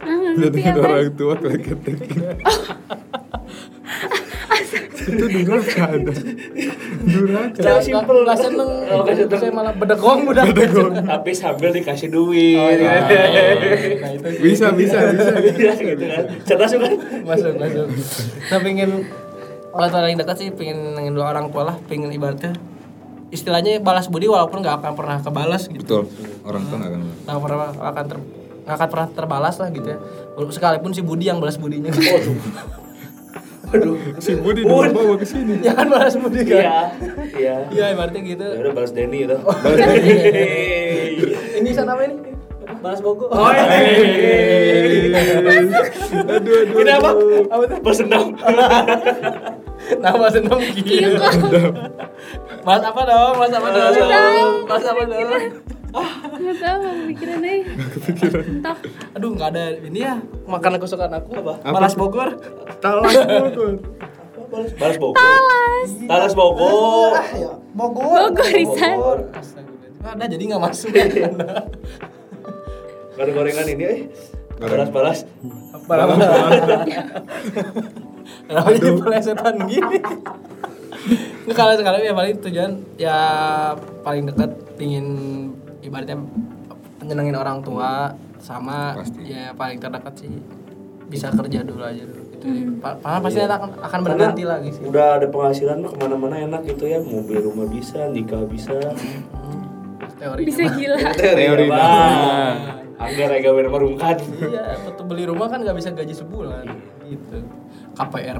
Speaker 4: Ah, ngerti
Speaker 5: Lihat
Speaker 4: apa?
Speaker 5: orang tua gitu. ketek-ketek. Itu durhaka ada. Durhaka.
Speaker 2: Gak- gak- gak seneng
Speaker 3: Oh, seneng.
Speaker 2: saya malah bedegong udah
Speaker 3: Tapi sambil dikasih duit. Ah.
Speaker 2: nah itu sih.
Speaker 5: Bisa, bisa, bisa.
Speaker 3: Iya gitu kan. Cerdas juga.
Speaker 2: masuk masuk nah pengen orang tua yang dekat sih pengen nengin dua orang tua lah pengen ibaratnya istilahnya balas budi walaupun nggak akan pernah kebalas
Speaker 5: Betul.
Speaker 2: gitu
Speaker 5: Orang tua nggak akan bilang.
Speaker 2: nggak pernah nggak akan ter nggak akan pernah terbalas lah gitu ya sekalipun si Budi yang balas budinya
Speaker 3: Waduh.
Speaker 5: Si Budi dulu bawa ke sini.
Speaker 2: ya kan balas budi
Speaker 3: Iya.
Speaker 2: kan
Speaker 3: Iya.
Speaker 2: iya ibaratnya gitu
Speaker 3: Ya udah balas Denny itu. Iya.
Speaker 2: ini sana apa ini balas bogo
Speaker 3: Iya,
Speaker 5: Aduh, aduh.
Speaker 3: Ini apa? Apa tuh? Balas dendam.
Speaker 2: nah balas enam gitu balas apa dong balas apa dong balas apa dong
Speaker 4: Nggak tahu nggak kepikiran aja. Entok.
Speaker 2: aduh nggak ada ini ya makanan kesukaan aku apa balas bogor
Speaker 5: Talas Bogor.
Speaker 3: Balas Bogor. Talas. Talas Bogor.
Speaker 2: Bogor.
Speaker 4: Bogorisan.
Speaker 2: Astagfirullahaladzim. Ada jadi nggak masuk.
Speaker 3: Goreng gorengan ini eh.
Speaker 5: Goreng.
Speaker 3: Balas balas.
Speaker 2: Apa-apa. Kenapa jadi pelesetan gini? Nggak kalau sekali ya paling tujuan ya paling dekat ingin ibaratnya nyenengin orang tua sama
Speaker 5: Pasti.
Speaker 2: ya paling terdekat sih bisa kerja dulu aja dulu gitu. Pa- pa- pasti akan akan berganti
Speaker 3: Iya. Karena
Speaker 2: lagi sih.
Speaker 3: Udah ada penghasilan mah kemana-mana enak gitu ya. Mau beli rumah bisa, nikah bisa. Iya,
Speaker 2: Teori.
Speaker 4: Bisa gila.
Speaker 5: Teori
Speaker 3: Bang.
Speaker 5: dah.
Speaker 3: Anggar agak bener merungkat.
Speaker 2: Iya, betul beli rumah kan nggak bisa gaji sebulan gitu. KPR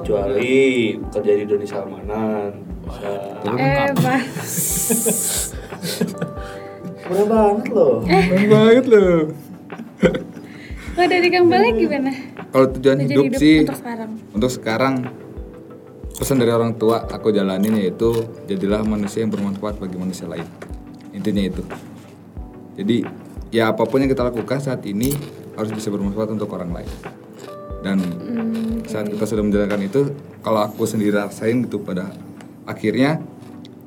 Speaker 3: Iya. Kecuali kerja di Doni Salmanan. Bisa.
Speaker 4: Eh, Pak.
Speaker 3: Murah banget loh.
Speaker 5: Keren banget loh.
Speaker 4: Kalau dari Kang Balek gimana?
Speaker 5: Kalau tujuan
Speaker 4: Tujuan
Speaker 5: hidup
Speaker 4: hidup
Speaker 5: sih
Speaker 4: untuk sekarang.
Speaker 5: untuk sekarang pesan dari orang tua aku jalanin yaitu jadilah manusia yang bermanfaat bagi manusia lain intinya itu jadi ya apapun yang kita lakukan saat ini harus bisa bermanfaat untuk orang lain dan saat kita sudah menjalankan itu kalau aku sendiri rasain gitu pada akhirnya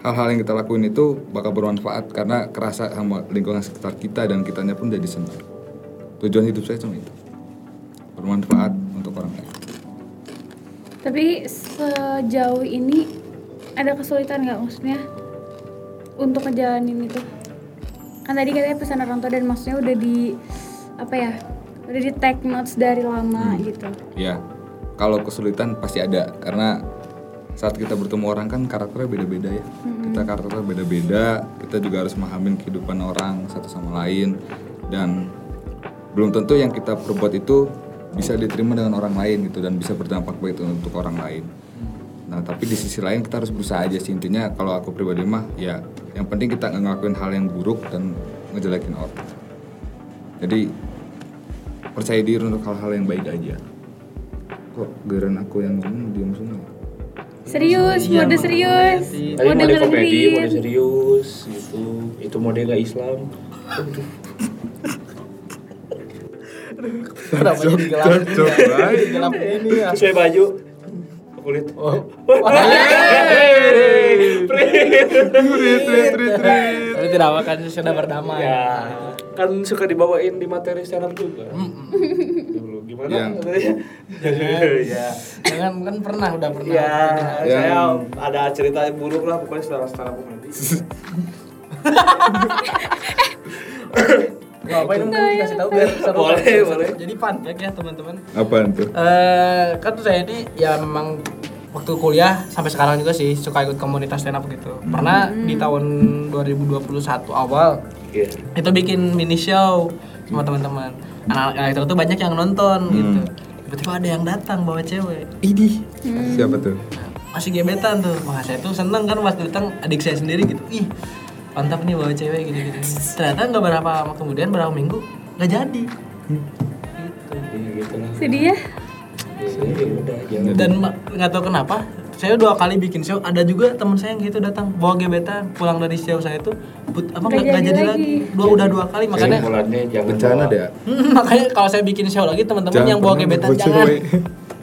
Speaker 5: hal-hal yang kita lakuin itu bakal bermanfaat karena kerasa sama lingkungan sekitar kita dan kitanya pun jadi senang tujuan hidup saya cuma itu bermanfaat untuk orang lain
Speaker 4: Tapi sejauh ini ada kesulitan nggak maksudnya untuk ngejalanin itu? Kan tadi katanya pesan orang tua dan maksudnya udah di apa ya? Udah di take notes dari lama
Speaker 3: Hmm.
Speaker 4: gitu.
Speaker 5: Ya, kalau kesulitan pasti ada karena saat kita bertemu orang kan karakternya beda-beda ya. Kita karakternya beda-beda, kita juga harus memahami kehidupan orang satu sama lain dan belum tentu yang kita perbuat itu bisa diterima dengan orang lain gitu dan bisa berdampak baik untuk orang lain. Nah, tapi di sisi lain kita harus berusaha aja sih intinya kalau aku pribadi mah ya yang penting kita nggak ngelakuin hal yang buruk dan ngejelekin orang. Jadi percaya diri untuk hal-hal yang baik aja kok giliran aku yang ngomong dia semua
Speaker 4: Serius,
Speaker 2: Iya,
Speaker 4: mode
Speaker 2: mode
Speaker 4: serius.
Speaker 2: komedi.
Speaker 3: Tadi mode
Speaker 4: bela
Speaker 3: komedi,
Speaker 5: iya.
Speaker 4: diri.
Speaker 3: mode serius, gitu. Itu mode nggak Islam.
Speaker 2: Kenapa jadi gelap?
Speaker 5: cocok,
Speaker 2: Jadi
Speaker 5: baik.
Speaker 2: gelap ini ya.
Speaker 3: Iya. Sesuai baju, kulit.
Speaker 2: Oh.
Speaker 3: Hey, Prit.
Speaker 5: Trit, trit, trit, trit.
Speaker 2: Tapi tidak apa kan sudah berdamai.
Speaker 3: Ya, kan suka dibawain di materi stand up juga. Dulu
Speaker 5: Iya.
Speaker 3: gimana? katanya? Ya.
Speaker 2: Jangan kan pernah udah
Speaker 3: Ya,
Speaker 2: pernah.
Speaker 5: Ya.
Speaker 3: saya ada cerita buruk lah pokoknya setelah setelah komedi.
Speaker 2: Gak apa-apa ini mungkin dikasih tahu biar seru.
Speaker 3: Boleh,
Speaker 2: Seru.
Speaker 3: boleh.
Speaker 2: Jadi fun fact ya teman-teman.
Speaker 5: Apaan tuh?
Speaker 2: Eh, kan tuh saya ini ya memang waktu kuliah sampai sekarang juga sih suka ikut komunitas stand up gitu. Pernah di tahun 2021 awal
Speaker 3: Iya.
Speaker 2: itu bikin mini show sama teman-teman. Anak-anak itu tuh banyak yang nonton
Speaker 5: Hmm.
Speaker 2: gitu. Tiba-tiba ada yang datang bawa cewek.
Speaker 5: Idih. Hmm. Siapa tuh?
Speaker 2: masih gebetan tuh wah saya tuh seneng kan pas datang adik saya sendiri gitu ih mantap nih bawa cewek gitu gitu ternyata nggak berapa lama kemudian berapa minggu nggak jadi
Speaker 3: Iya gitu lah.
Speaker 4: Sedih ya?
Speaker 3: Ya, udah jangan.
Speaker 5: Iya.
Speaker 2: dan ma- nggak tahu kenapa saya dua kali bikin show ada juga teman saya yang gitu datang bawa gebetan pulang dari show saya tuh put, apa nggak nggak jadi lagi dua udah dua kali makanya
Speaker 3: Bulannya jangan
Speaker 5: Iya. Bencana
Speaker 3: bawa
Speaker 5: deh. ya.
Speaker 2: Hmm, makanya kalau saya bikin show lagi teman-teman yang
Speaker 5: pernah
Speaker 2: bawa
Speaker 5: Ya.
Speaker 2: gebetan
Speaker 5: bawa
Speaker 2: jangan
Speaker 5: cewek.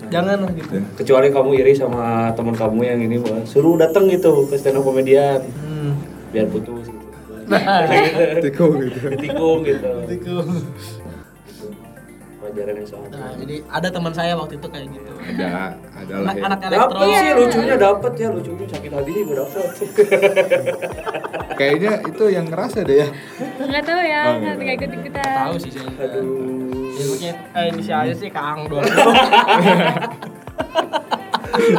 Speaker 2: jangan lah gitu
Speaker 3: kecuali kamu iri sama teman kamu yang ini Wak. suruh datang gitu ke stand up komedian
Speaker 2: hmm.
Speaker 3: biar putus gitu
Speaker 2: Nah,
Speaker 5: Tiko gitu.
Speaker 3: ditikung gitu pelajaran yang sama
Speaker 2: nah, jadi ada teman saya waktu itu kayak gitu
Speaker 5: Ada, ada lah
Speaker 2: anak
Speaker 5: ya.
Speaker 2: anak elektro
Speaker 3: Dapet sih lucunya dapet ya lucunya sakit hati juga dapet
Speaker 5: Kayaknya itu yang ngerasa deh ya.
Speaker 4: Enggak tahu ya,
Speaker 3: Oh, iya.
Speaker 4: enggak ikut ikutan.
Speaker 2: tahu sih saya
Speaker 3: aduh
Speaker 2: Nyebutnya eh inisialnya sih Kang dua.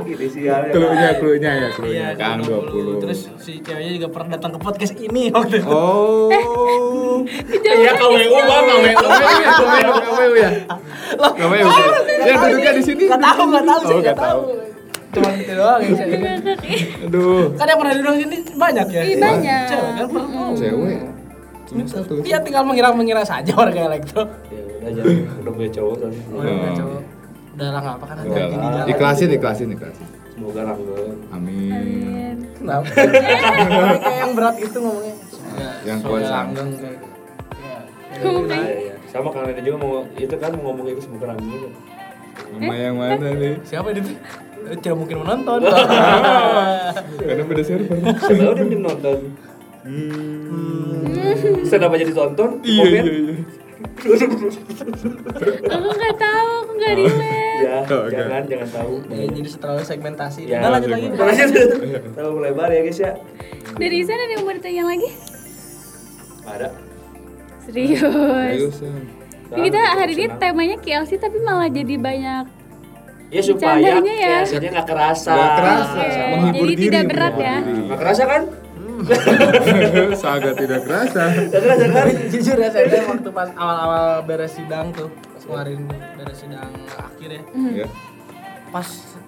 Speaker 3: inisialnya
Speaker 5: Klunya, klunya ya, klunya.
Speaker 2: Iya,
Speaker 5: Kang 20.
Speaker 2: Terus si ceweknya juga pernah datang ke podcast ini waktu itu.
Speaker 5: Oh.
Speaker 2: Eh.
Speaker 3: ya KWU bang
Speaker 2: gitu.
Speaker 3: KWU
Speaker 5: KWU, KWU ya. KWU. Ya duduknya di sini.
Speaker 2: Gak tahu, gak tahu, saya
Speaker 5: Oh,
Speaker 2: gak
Speaker 5: nggak tahu.
Speaker 2: tahu. Cuma itu doang yang saya ingat.
Speaker 5: Aduh.
Speaker 2: Kan yang pernah duduk sini banyak ya.
Speaker 4: Ih, banyak.
Speaker 2: Cewek kan pernah.
Speaker 5: Cewek. Cuma satu.
Speaker 2: Dia tinggal mengira-mengira saja warga elektro.
Speaker 3: ya udah jangan udah punya cowok kan. tadi
Speaker 5: udah,
Speaker 2: cowok.
Speaker 5: cowok.
Speaker 2: Udah lah nggak apa kan ada
Speaker 5: Oh. Udah lah.
Speaker 2: di
Speaker 5: Iya.
Speaker 2: jalan.
Speaker 5: Ikhlasin, ikhlasin, ikhlasin.
Speaker 3: semoga langgeng
Speaker 5: Amin.
Speaker 3: Iya,
Speaker 2: Kenapa? Kayak yang berat itu ngomongnya.
Speaker 5: Iya, Yang kuat
Speaker 2: soalnya
Speaker 5: sama.
Speaker 2: langgeng kayak. Ya,
Speaker 4: Kumeng.
Speaker 3: Iya, iya. sama Kang Rene juga mau itu kan mau ngomong itu semoga langgeng
Speaker 5: Sama yang mana nih?
Speaker 2: Siapa itu? Tidak mungkin menonton.
Speaker 5: Karena beda server.
Speaker 3: Tahu dia belum nonton Hmm. stand up aja ditonton
Speaker 5: Iya, iya,
Speaker 3: komen
Speaker 5: iya.
Speaker 3: iya.
Speaker 4: Aku enggak tahu, aku enggak relate.
Speaker 3: ya
Speaker 5: Oh, oke.
Speaker 3: jangan jangan tahu
Speaker 2: Ya, jadi terlalu segmentasi.
Speaker 3: Ya,
Speaker 2: Udah lanjut lagi.
Speaker 3: Makasih tuh. Tahu melebar ya guys ya.
Speaker 4: Dari sana ada yang mau ditanya lagi?
Speaker 3: Ada.
Speaker 4: Serius.
Speaker 5: Ayo, Sam.
Speaker 4: Ini kita hari ini temanya KLC tapi malah jadi banyak.
Speaker 3: ya supaya
Speaker 4: bercandanya ya.
Speaker 3: biasanya nggak kerasa.
Speaker 5: Gak kerasa.
Speaker 4: Oke,
Speaker 5: Menghibur
Speaker 4: jadi
Speaker 5: diri.
Speaker 4: tidak berat ya.
Speaker 3: Nggak kerasa kan?
Speaker 5: Sangat tidak kerasa.
Speaker 3: Nggak kerasa kan?
Speaker 2: Jujur ya saya waktu pas awal-awal beres sidang tuh pas kemarin beres sidang akhir ya.
Speaker 5: Ya.
Speaker 2: Pas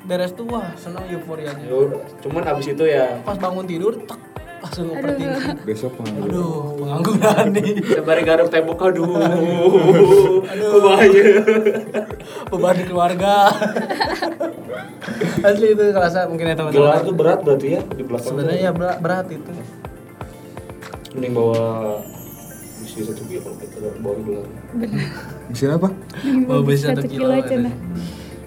Speaker 2: beres tuh wah seneng euforianya.
Speaker 3: Ya udah. Cuman abis itu ya
Speaker 2: Pas bangun tidur tek langsung overthinking.
Speaker 5: Besok mau.
Speaker 2: Aduh, pengangguran nih.
Speaker 3: sebar garam tembok aduh. aduh. Bahaya.
Speaker 2: Beban di keluarga. Asli itu kerasa mungkin ya
Speaker 3: Gelar
Speaker 2: teman-teman.
Speaker 3: tuh berat berarti ya di belakang.
Speaker 2: Sebenarnya ya berat, berat itu.
Speaker 4: ya.
Speaker 3: mending bawa misi satu biar kalau kita bawa gelar.
Speaker 5: Mesin apa?
Speaker 2: Bawa besi
Speaker 4: Satu
Speaker 2: satu
Speaker 4: kilo
Speaker 2: kilo.
Speaker 4: aja,
Speaker 2: katanya.
Speaker 4: nah.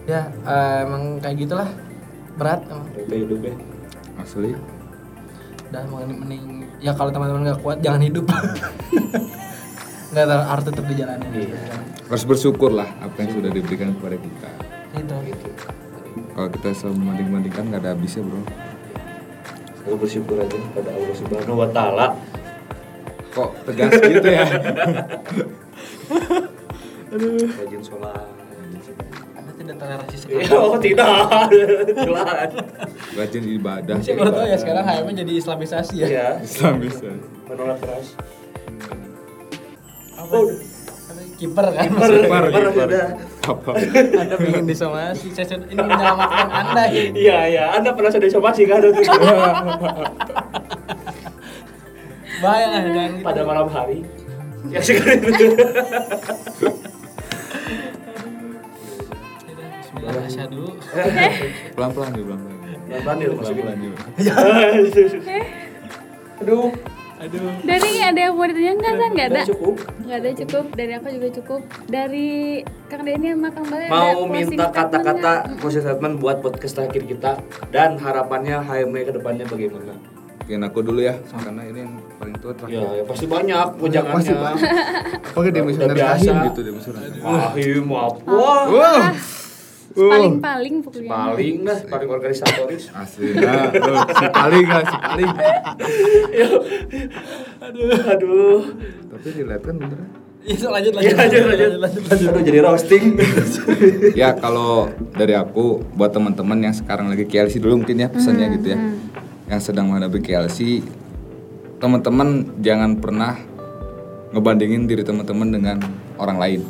Speaker 2: Ya, eh, emang kayak gitulah. Berat emang.
Speaker 3: Kita hidup ya.
Speaker 5: Asli.
Speaker 2: dan mending, mending ya kalau teman-teman nggak kuat jangan hidup nggak tahu harus tetap dijalani gitu.
Speaker 5: Harus bersyukur lah apa yang sudah diberikan kepada kita.
Speaker 2: itu gitu.
Speaker 5: Kalau kita selalu membanding-bandingkan nggak ada habisnya bro.
Speaker 3: Selalu bersyukur aja pada Allah Subhanahu Wa Taala.
Speaker 5: Kok tegas gitu ya?
Speaker 3: Rajin sholat.
Speaker 2: anda tidak toleransi sekali
Speaker 3: Ya, Oh tidak, jelas.
Speaker 5: Rajin ibadah.
Speaker 2: sih baru tahu ya sekarang HM -nya jadi islamisasi ya
Speaker 3: Ya,
Speaker 5: Islam bisa.
Speaker 3: menolak keras.
Speaker 2: apa
Speaker 3: Oh,
Speaker 2: Apa, kiper kan
Speaker 5: Kiper,
Speaker 3: Kiper,
Speaker 5: kiper.
Speaker 3: udah.
Speaker 5: Apa?
Speaker 2: anda ingin disomasi saya sudah- ini menyelamatkan anda gitu. ini
Speaker 3: Iya, iya. Anda pernah sudah coba sih kan?
Speaker 2: bahaya lah jangan gitu.
Speaker 3: Pada malam hari. Ya sekarang.
Speaker 2: Bismillah, asyhadu.
Speaker 5: Pelan-pelan ya pelan-pelan.
Speaker 3: Banil, pelan-pelan.
Speaker 5: Lanjut.
Speaker 3: Aduh,
Speaker 2: Aduh.
Speaker 4: Dari ada yang mau ditanya nggak kan? Nggak ada.
Speaker 3: udah cukup.
Speaker 4: Nggak ada cukup. Dari aku juga cukup. Dari Kang Denny sama Kang Bale ada
Speaker 3: Mau
Speaker 4: closing
Speaker 3: minta
Speaker 4: statement nggak?
Speaker 3: kata-kata closing statement buat podcast terakhir kita dan harapannya HME ke depannya bagaimana?
Speaker 5: Mungkin aku dulu ya, karena ini yang paling tua terakhir.
Speaker 3: Ya, ya pasti banyak
Speaker 5: pasti
Speaker 3: pujangannya.
Speaker 5: banyak. Oke,
Speaker 3: Udah
Speaker 5: dia misioner
Speaker 3: biasa.
Speaker 5: rahim gitu, dia misioner rahim.
Speaker 3: Wah, iya, mau
Speaker 2: Ah.
Speaker 3: apa?
Speaker 5: Wow. Uh.
Speaker 4: Paling-paling pokoknya.
Speaker 3: Paling dah, paling organisatoris.
Speaker 5: Asli, nah, tuh, si paling lah, si paling.
Speaker 3: aduh, aduh.
Speaker 5: Tapi dilihat kan beneran.
Speaker 2: Iya, lanjut lanjut.
Speaker 3: Ya, lanjut, lanjut, lanjut, Aduh, jadi roasting.
Speaker 5: ya kalau dari aku buat teman-teman yang sekarang lagi KLC dulu mungkin ya pesannya gitu ya yang sedang menghadapi KLC teman-teman jangan pernah ngebandingin diri teman-teman dengan orang lain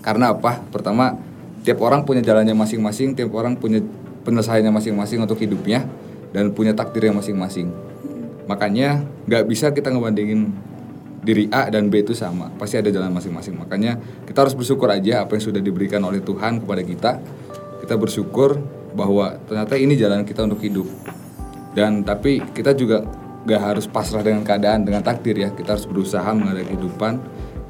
Speaker 5: karena apa pertama tiap orang punya jalannya masing-masing tiap orang punya penyelesaiannya masing-masing untuk hidupnya dan punya takdirnya masing-masing makanya nggak bisa kita ngebandingin diri A dan B itu sama pasti ada jalan masing-masing makanya kita harus bersyukur aja apa yang sudah diberikan oleh Tuhan kepada kita kita bersyukur bahwa ternyata ini jalan kita untuk hidup dan tapi kita juga gak harus pasrah dengan keadaan dengan takdir ya kita harus berusaha menghadapi kehidupan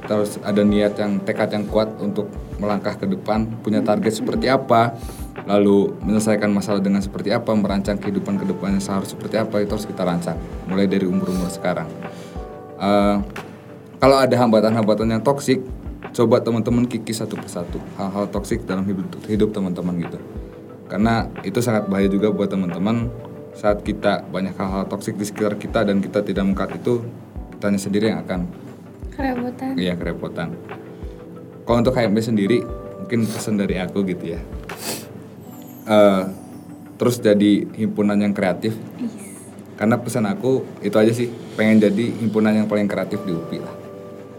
Speaker 5: kita harus ada niat yang tekad yang kuat untuk melangkah ke depan punya target seperti apa lalu menyelesaikan masalah dengan seperti apa merancang kehidupan ke depannya seharus seperti apa itu harus kita rancang mulai dari umur-umur sekarang Eh, kalau ada hambatan-hambatan yang toksik, coba teman-teman kiki satu persatu hal-hal toksik dalam hidup, hidup teman-teman gitu. Karena itu sangat bahaya juga buat teman-teman saat kita banyak hal-hal toksik di sekitar kita dan kita tidak mengkat itu, kitanya sendiri yang akan
Speaker 4: Kerebutan.
Speaker 5: iya kerepotan. Kalau untuk HMB sendiri, mungkin pesan dari aku gitu ya. Eh, terus jadi himpunan yang kreatif. Karena pesan aku itu aja sih, pengen jadi himpunan yang paling kreatif di UPI lah.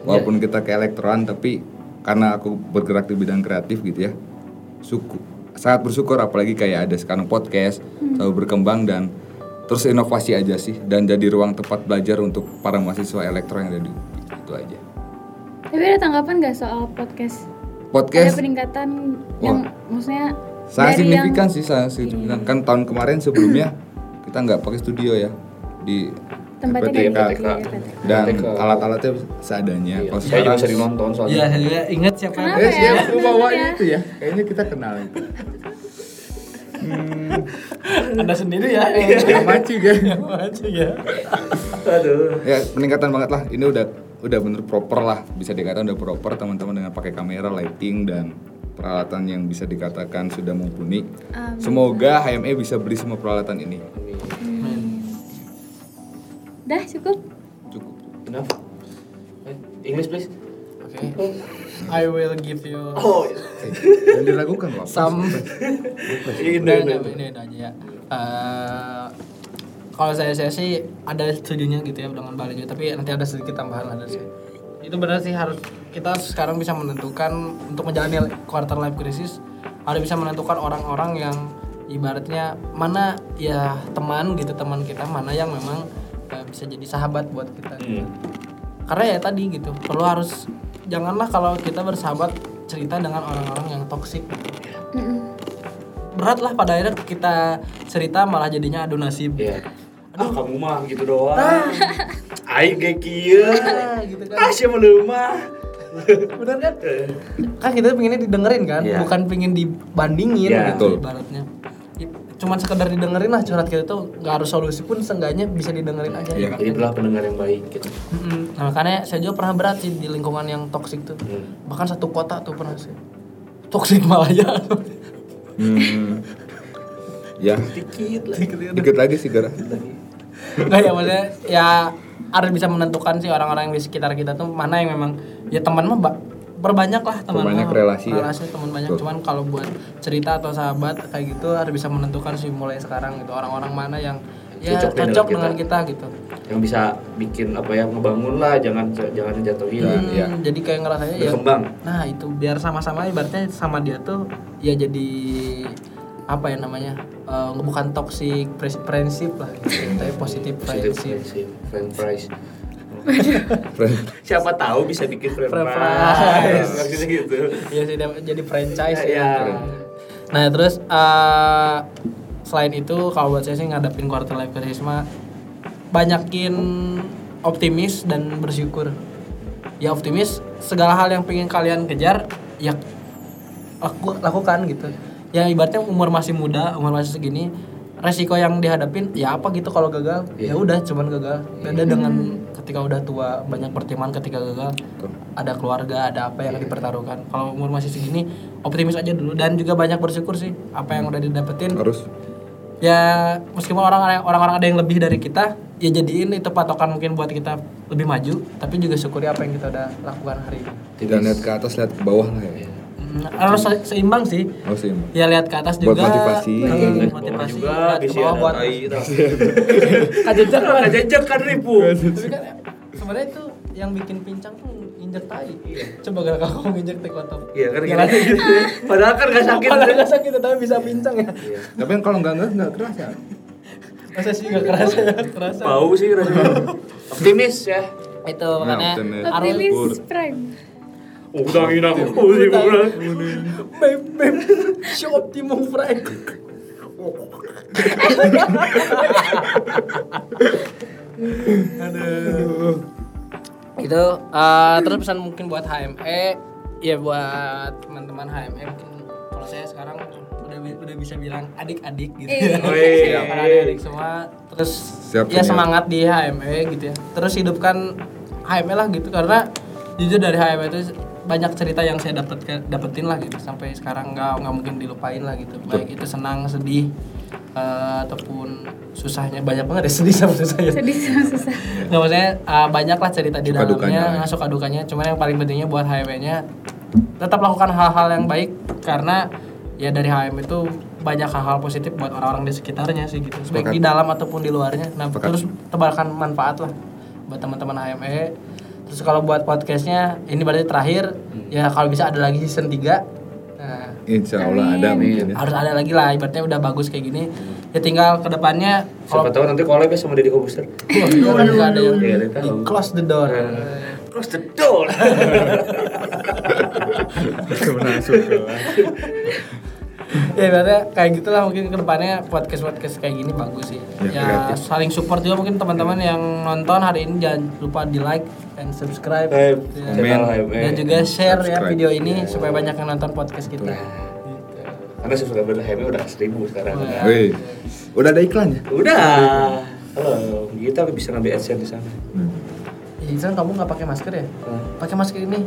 Speaker 5: Walaupun kita ke elektroan, tapi karena aku bergerak di bidang kreatif gitu ya, suku sangat bersyukur apalagi kayak ada sekarang podcast selalu berkembang dan terus inovasi aja sih dan jadi ruang tempat belajar untuk para mahasiswa elektro yang ada di UPI itu aja
Speaker 4: Tapi ada tanggapan nggak soal podcast? Ada
Speaker 5: podcast
Speaker 4: peningkatan yang maksudnya
Speaker 5: sangat
Speaker 4: dari yang
Speaker 5: signifikan sih sangat signifikan kan tahun kemarin sebelumnya kita nggak pakai studio ya di
Speaker 4: tempatnya
Speaker 5: RPTK.
Speaker 4: dari
Speaker 3: RPTK.
Speaker 5: dan
Speaker 3: RPTK.
Speaker 5: alat-alatnya seadanya
Speaker 3: Iya,
Speaker 5: kalau
Speaker 3: Saya juga
Speaker 5: sekarang
Speaker 3: bisa dinonton
Speaker 2: Iya,
Speaker 3: soalnya.
Speaker 2: saya juga ingat siapa.
Speaker 4: Kenapa?
Speaker 5: eh
Speaker 4: ya?
Speaker 5: siapa bawa itu ya kayaknya kita kenal itu
Speaker 2: Anda sendiri ya.
Speaker 5: yang maci kan
Speaker 2: Macam ya.
Speaker 3: Aduh.
Speaker 5: ya peningkatan banget lah ini udah udah bener proper lah bisa dikatakan udah proper teman-teman dengan pakai kamera lighting dan peralatan yang bisa dikatakan sudah mumpuni semoga HME bisa beli semua peralatan ini
Speaker 4: Dah cukup.
Speaker 5: cukup
Speaker 3: Enough. Eh, English please.
Speaker 2: Oke. I will give you
Speaker 3: Oh,
Speaker 5: Eh, dan diragukan loh
Speaker 2: some
Speaker 3: ini
Speaker 2: udah udah udah, udah aja ya. Eh, kalau saya saya sih ada setujunya gitu ya dengan Bali juga, tapi nanti ada sedikit tambahan ada sih. Itu benar sih harus kita sekarang bisa menentukan untuk menjalani quarter life crisis harus bisa menentukan orang-orang yang ibaratnya mana ya teman gitu teman kita mana yang memang eh, bisa jadi sahabat buat
Speaker 3: Hmm.
Speaker 2: kita. gitu. Karena ya tadi gitu perlu harus janganlah kalau kita bersahabat cerita dengan orang-orang yang toksik
Speaker 4: Mm-mm.
Speaker 2: berat lah pada akhirnya kita cerita malah jadinya adu nasib
Speaker 3: Iya. Ah, kamu mah gitu doang. Aing ge kieu.
Speaker 2: Ah. gitu kan
Speaker 3: Ah, sia meuleum mah. Eh,
Speaker 2: bener kan kan kita pengennya didengerin kan
Speaker 3: Iya.
Speaker 2: bukan pengen dibandingin
Speaker 3: Iya.
Speaker 5: Betul.
Speaker 2: gitu ibaratnya I- cuman sekedar didengerin lah curhat kita tuh nggak harus solusi pun seenggaknya bisa didengerin aja gitu.
Speaker 5: Iya.
Speaker 3: Jadi itulah pendengar yang baik gitu.
Speaker 2: Mm-mm. nah, makanya saya juga pernah berat sih di lingkungan yang toksik tuh
Speaker 3: Hmm.
Speaker 2: bahkan satu kota tuh pernah sih toksik malah ya
Speaker 5: Hmm. ya,
Speaker 3: Dikit lah.
Speaker 5: dikit lagi sih gara.
Speaker 2: Nggak ya maksudnya ya harus bisa menentukan sih orang-orang yang di sekitar kita tuh mana yang memang ya teman mah ba- perbanyak lah teman
Speaker 5: Perbanyak
Speaker 2: mah.
Speaker 5: relasi ya.
Speaker 2: relasi teman banyak
Speaker 5: Betul.
Speaker 2: cuman kalau buat cerita atau sahabat kayak gitu harus bisa menentukan sih mulai sekarang gitu orang-orang mana yang ya
Speaker 3: Cocok dengan
Speaker 2: cocok,
Speaker 3: kita.
Speaker 2: dengan kita, gitu
Speaker 3: Yang bisa bikin apa ya ngebangun lah, jangan jangan jatuhin lah.
Speaker 2: Hmm,
Speaker 5: iya.
Speaker 2: jadi kayak ngerasanya ya
Speaker 3: Berkembang.
Speaker 2: nah itu biar sama-sama ibaratnya sama dia tuh ya jadi apa ya namanya eh, bukan toxic pres- friendship lah gitu, tapi positif
Speaker 3: Positive
Speaker 2: friendship
Speaker 3: friendship, friend price.
Speaker 5: Friend.
Speaker 3: Siapa tahu bisa bikin friend
Speaker 2: Friend
Speaker 3: price. Maksudnya gitu.
Speaker 2: Iya sih, dia jadi franchise
Speaker 3: Iya.
Speaker 2: ya. Nah terus eh, selain itu kalau buat saya sih ngadapin quarter life crisis mah banyakin optimis dan bersyukur ya optimis segala hal yang pengen kalian kejar ya aku lakukan gitu ya ibaratnya umur masih muda umur masih segini resiko yang dihadapin ya apa gitu kalau gagal ya udah cuman gagal beda dengan ketika udah tua banyak pertimbangan ketika gagal ada keluarga ada apa yang dipertaruhkan kalau umur masih segini optimis aja dulu dan juga banyak bersyukur sih apa yang udah didapetin
Speaker 5: harus
Speaker 2: ya meskipun orang orang-orang ada yang lebih dari kita ya jadiin itu patokan mungkin buat kita lebih maju tapi juga syukuri apa yang kita udah lakukan hari ini
Speaker 5: tidak lihat ke atas lihat ke bawah lah ya
Speaker 2: Mm, harus se- seimbang sih
Speaker 5: oh sih Mbak.
Speaker 2: ya lihat ke atas
Speaker 5: Buat
Speaker 2: juga
Speaker 5: motivasi.
Speaker 2: Mm,
Speaker 5: Lihat
Speaker 2: motivasi
Speaker 3: juga ya,
Speaker 2: lihat ke
Speaker 3: bisa
Speaker 2: bawah buat
Speaker 3: Kajejak lah, kajejak kan ribu.
Speaker 2: Tapi kan, sebenarnya itu yang bikin pincang tuh injek tai coba gara-gara kamu injek taekwondo
Speaker 3: Iya kan kira gitu. Padahal kan gak sakit.
Speaker 2: Padahal nggak sakit tapi bisa pincang ya
Speaker 5: tapi kan kalau nggak nggak nggak keras ya
Speaker 2: masa sih nggak kerasa ya? kerasa
Speaker 3: Bau sih rasanya. Optimis ya.
Speaker 2: itu
Speaker 5: Nah,
Speaker 2: makanya
Speaker 5: bener.
Speaker 2: harus
Speaker 5: Syukur.
Speaker 4: Optimis prank.
Speaker 3: Udah hilang. Udah hilang.
Speaker 2: Beb, beb, si Optimum Prime. itu eh, terus pesan mungkin buat HME ya buat teman-teman HME mungkin kalau saya sekarang udah bi- udah bisa bilang adik-adik gitu
Speaker 4: Iya.
Speaker 3: Wih.
Speaker 2: Para adik-adik semua terus
Speaker 5: Siap,
Speaker 2: ya
Speaker 5: Junior.
Speaker 2: semangat di HME gitu ya terus hidupkan HME lah gitu karena jujur dari HME itu banyak cerita yang saya dapat ke- dapetin lah gitu sampai sekarang nggak nggak mungkin dilupain lah gitu baik itu senang sedih eh, ataupun susahnya banyak banget ya sedih sama susahnya
Speaker 4: Sedih sama susah.
Speaker 2: nggak maksudnya uh, banyak lah cerita di
Speaker 5: Suka dukanya
Speaker 2: dalamnya
Speaker 5: lah ya.
Speaker 2: masuk dukanya cuman yang paling pentingnya buat HME-nya tetap lakukan hal-hal yang baik karena ya dari HM itu banyak hal-hal positif buat orang-orang di sekitarnya sih gitu baik
Speaker 5: Sepakat.
Speaker 2: di dalam ataupun di luarnya nah
Speaker 5: Sepakat.
Speaker 2: terus tebarkan manfaat lah buat teman-teman HME terus kalau buat podcastnya ini berarti terakhir
Speaker 3: Hmm.
Speaker 2: ya kalau bisa ada lagi season 3 nah
Speaker 5: insya Allah ada mungkin ya
Speaker 2: harus ada lagi lah ibaratnya udah bagus kayak gini ya tinggal kedepannya
Speaker 3: Siapa tahu nanti collab ya sama Deddy Kobuster.
Speaker 2: Wah, kan nggak ada yang
Speaker 3: Iya, dia tahu. Nah.
Speaker 2: di- close the door.
Speaker 3: Close the door.
Speaker 5: Langsung ke-
Speaker 2: ya ibaratnya kayak gitulah mungkin kedepannya podcast podcast kayak gini bagus sih.
Speaker 5: Ya,
Speaker 2: Ya,
Speaker 5: kreatif.
Speaker 2: saling support juga mungkin teman-teman yang nonton hari ini jangan lupa di like and subscribe
Speaker 3: Eh,
Speaker 2: Ya.
Speaker 5: Komen.
Speaker 3: channel HME.
Speaker 2: dan juga share ya
Speaker 5: Subscribe.
Speaker 2: video ini supaya banyak yang nonton podcast kita. Gitu.
Speaker 3: Karena subscriber HME udah seribu sekarang.
Speaker 2: Wah.
Speaker 5: Wih, udah ada iklannya
Speaker 3: Udah. Halo, kita bisa nambah adsense di sana.
Speaker 5: Hmm.
Speaker 2: Ih, Izan kamu nggak pakai masker ya?
Speaker 3: Hah?
Speaker 2: Pakai masker ini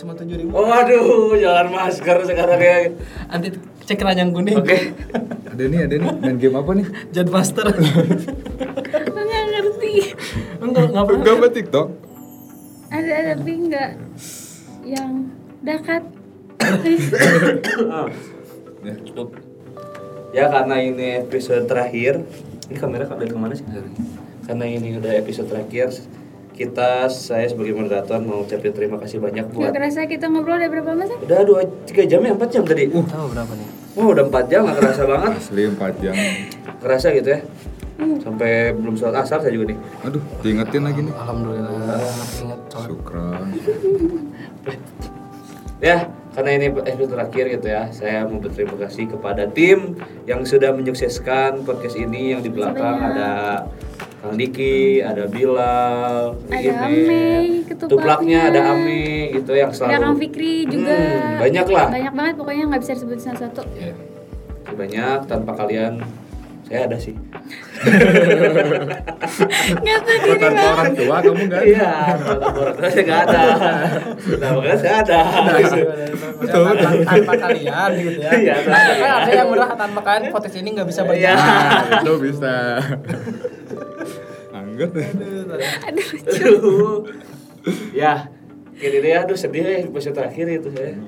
Speaker 2: cuma tujuh ribu.
Speaker 3: Oh, aduh, jalan masker sekarang ya.
Speaker 2: Nanti cek keranjang kuning.
Speaker 3: Oke.
Speaker 5: ada nih ada nih main game apa nih
Speaker 2: Jad master.
Speaker 4: Aku nggak ngerti.
Speaker 2: Enggak nggak pernah.
Speaker 5: Gak apa TikTok?
Speaker 4: Ada tapi nggak yang dekat.
Speaker 3: Ah,
Speaker 5: Ya.
Speaker 3: tutup. Ya karena ini episode terakhir, ini kamera dari kemana sih? Karena ini udah episode terakhir, kita saya sebagai moderator mau ucapin terima kasih banyak
Speaker 4: Gak
Speaker 3: buat.
Speaker 4: kerasa kita ngobrol udah berapa mas?
Speaker 3: Udah dua tiga jam ya empat jam tadi. Uh,
Speaker 2: Tahu berapa nih?
Speaker 3: wah, udah empat jam nggak kerasa banget,
Speaker 5: Asli 4 jam.
Speaker 3: kerasa gitu ya. Sampai belum sholat asar saya juga nih.
Speaker 5: Aduh, diingetin lagi nih.
Speaker 2: Alhamdulillah. Ingat coy.
Speaker 5: Syukran.
Speaker 3: Ya, karena ini episode terakhir gitu ya, saya mau berterima kasih kepada tim yang sudah menyukseskan podcast ini yang di belakang ada Kang Diki, ada Bilal,
Speaker 4: Ada
Speaker 3: Imet,
Speaker 4: Amey, ketupatnya.
Speaker 3: tuplaknya ada Ame gitu yang selalu
Speaker 4: Ada Kang Fikri juga.
Speaker 3: Hmm, banyak lah.
Speaker 4: Banyak banget pokoknya nggak bisa disebutin satu-satu.
Speaker 5: Ya.
Speaker 3: banyak tanpa kalian saya ada sih.
Speaker 4: Nggak tuh
Speaker 5: Kok tanpa orang tua kamu enggak ada?
Speaker 3: Iya, kalau saya nggak ada. Nah, makanya saya ada.
Speaker 2: Ya, tanpa, tanpa kalian gitu ya.
Speaker 3: Iya, tanpa
Speaker 2: Kan ada yang bilang tanpa kalian podcast ini nggak bisa berjalan.
Speaker 5: Nah, itu bisa. Anggap.
Speaker 3: Aduh. ya, gitu deh. Aduh sedih ya episode terakhir itu saya.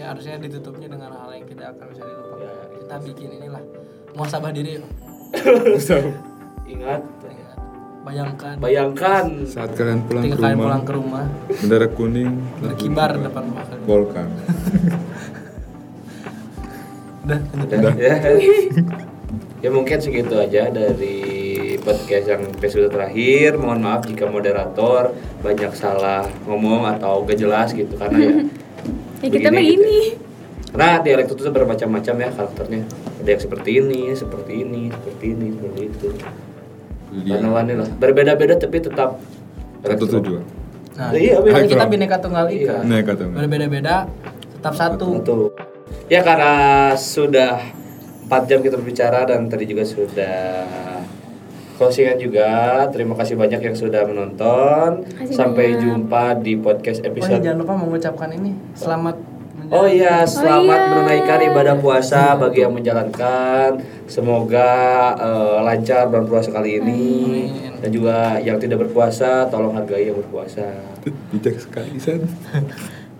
Speaker 2: Jadi harusnya ditutupnya dengan hal yang tidak akan bisa dilupakan. Kita bikin inilah muasabah diri. yuk.
Speaker 3: Ingat,
Speaker 2: Bayangkan
Speaker 3: bayangkan
Speaker 5: Saat kalian pulang
Speaker 2: ketika
Speaker 5: ke
Speaker 2: kalian
Speaker 5: rumah,
Speaker 2: pulang ke rumah
Speaker 5: bendera kuning
Speaker 2: berkibar depan rumah kalian.
Speaker 5: Volkan.
Speaker 2: Udah, lanjut.
Speaker 3: Udah. ya. ya mungkin segitu aja dari podcast yang episode terakhir. Mohon maaf jika moderator banyak salah ngomong atau gak jelas gitu karena ya.
Speaker 4: Ya kita
Speaker 3: begini gitu
Speaker 4: begini.
Speaker 3: ya. Karena dialektik itu bermacam-macam ya karakternya. ada yang seperti ini seperti ini seperti ini seperti itu warna-warni lah berbeda-beda tapi tetap
Speaker 5: Satu tujuan.
Speaker 2: Nah,
Speaker 3: Iya,
Speaker 5: bener.
Speaker 2: kan kita bineka tunggal ika.
Speaker 5: Nah, kata Mas.
Speaker 2: Berbeda-beda, tetap satu.
Speaker 3: Satu. Ya karena sudah 4 jam kita berbicara dan tadi juga sudah closingan juga. Terima kasih banyak yang sudah menonton.
Speaker 4: Kasih
Speaker 3: Sampai
Speaker 4: banyak.
Speaker 3: jumpa di podcast
Speaker 2: Oh iya,
Speaker 3: episode
Speaker 2: jangan lupa mengucapkan ini. Selamat. menjalani-
Speaker 3: Oh iya,
Speaker 4: Oh
Speaker 3: selamat
Speaker 4: iya.
Speaker 3: menunaikan ibadah puasa bagi yang menjalankan. Semoga eh, lancar bulan puasa kali ini dan juga yang tidak berpuasa tolong hargai yang berpuasa.
Speaker 5: Bijak sekali San.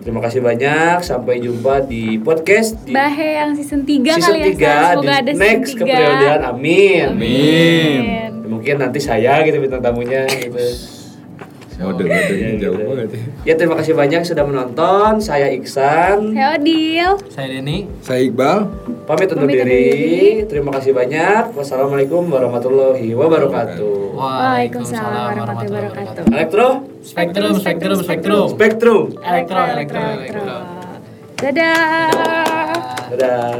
Speaker 3: Terima kasih banyak. Sampai jumpa di podcast di
Speaker 4: Bahe yang season 3
Speaker 3: Iya. season
Speaker 4: kali ya. Sal.
Speaker 3: 3
Speaker 4: Semoga
Speaker 3: di
Speaker 4: ada
Speaker 3: next
Speaker 4: season 3.
Speaker 3: keperiodean. Amin.
Speaker 5: Amin.
Speaker 3: Mungkin nanti saya gitu bintang tamunya gitu.
Speaker 5: Model-modelnya
Speaker 3: Iya,
Speaker 5: jauh
Speaker 3: gitu.
Speaker 5: banget ya.
Speaker 3: Ya terima kasih banyak sudah menonton. Saya Iksan.
Speaker 4: Saya Odil.
Speaker 2: Saya Denny.
Speaker 5: Saya Iqbal.
Speaker 3: Pamit undur
Speaker 4: Pamit undur
Speaker 3: diri. Terima kasih banyak. Wassalamualaikum warahmatullahi wabarakatuh.
Speaker 4: Waalaikumsalam warahmatullahi wabarakatuh.
Speaker 3: Elektro
Speaker 2: Spektrum, spektrum, spektrum.
Speaker 3: Spektrum.
Speaker 2: Elektro, elektro, elektro.
Speaker 4: Dadah.
Speaker 3: Dadah.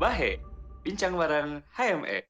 Speaker 1: Bahe, bincang bareng HME.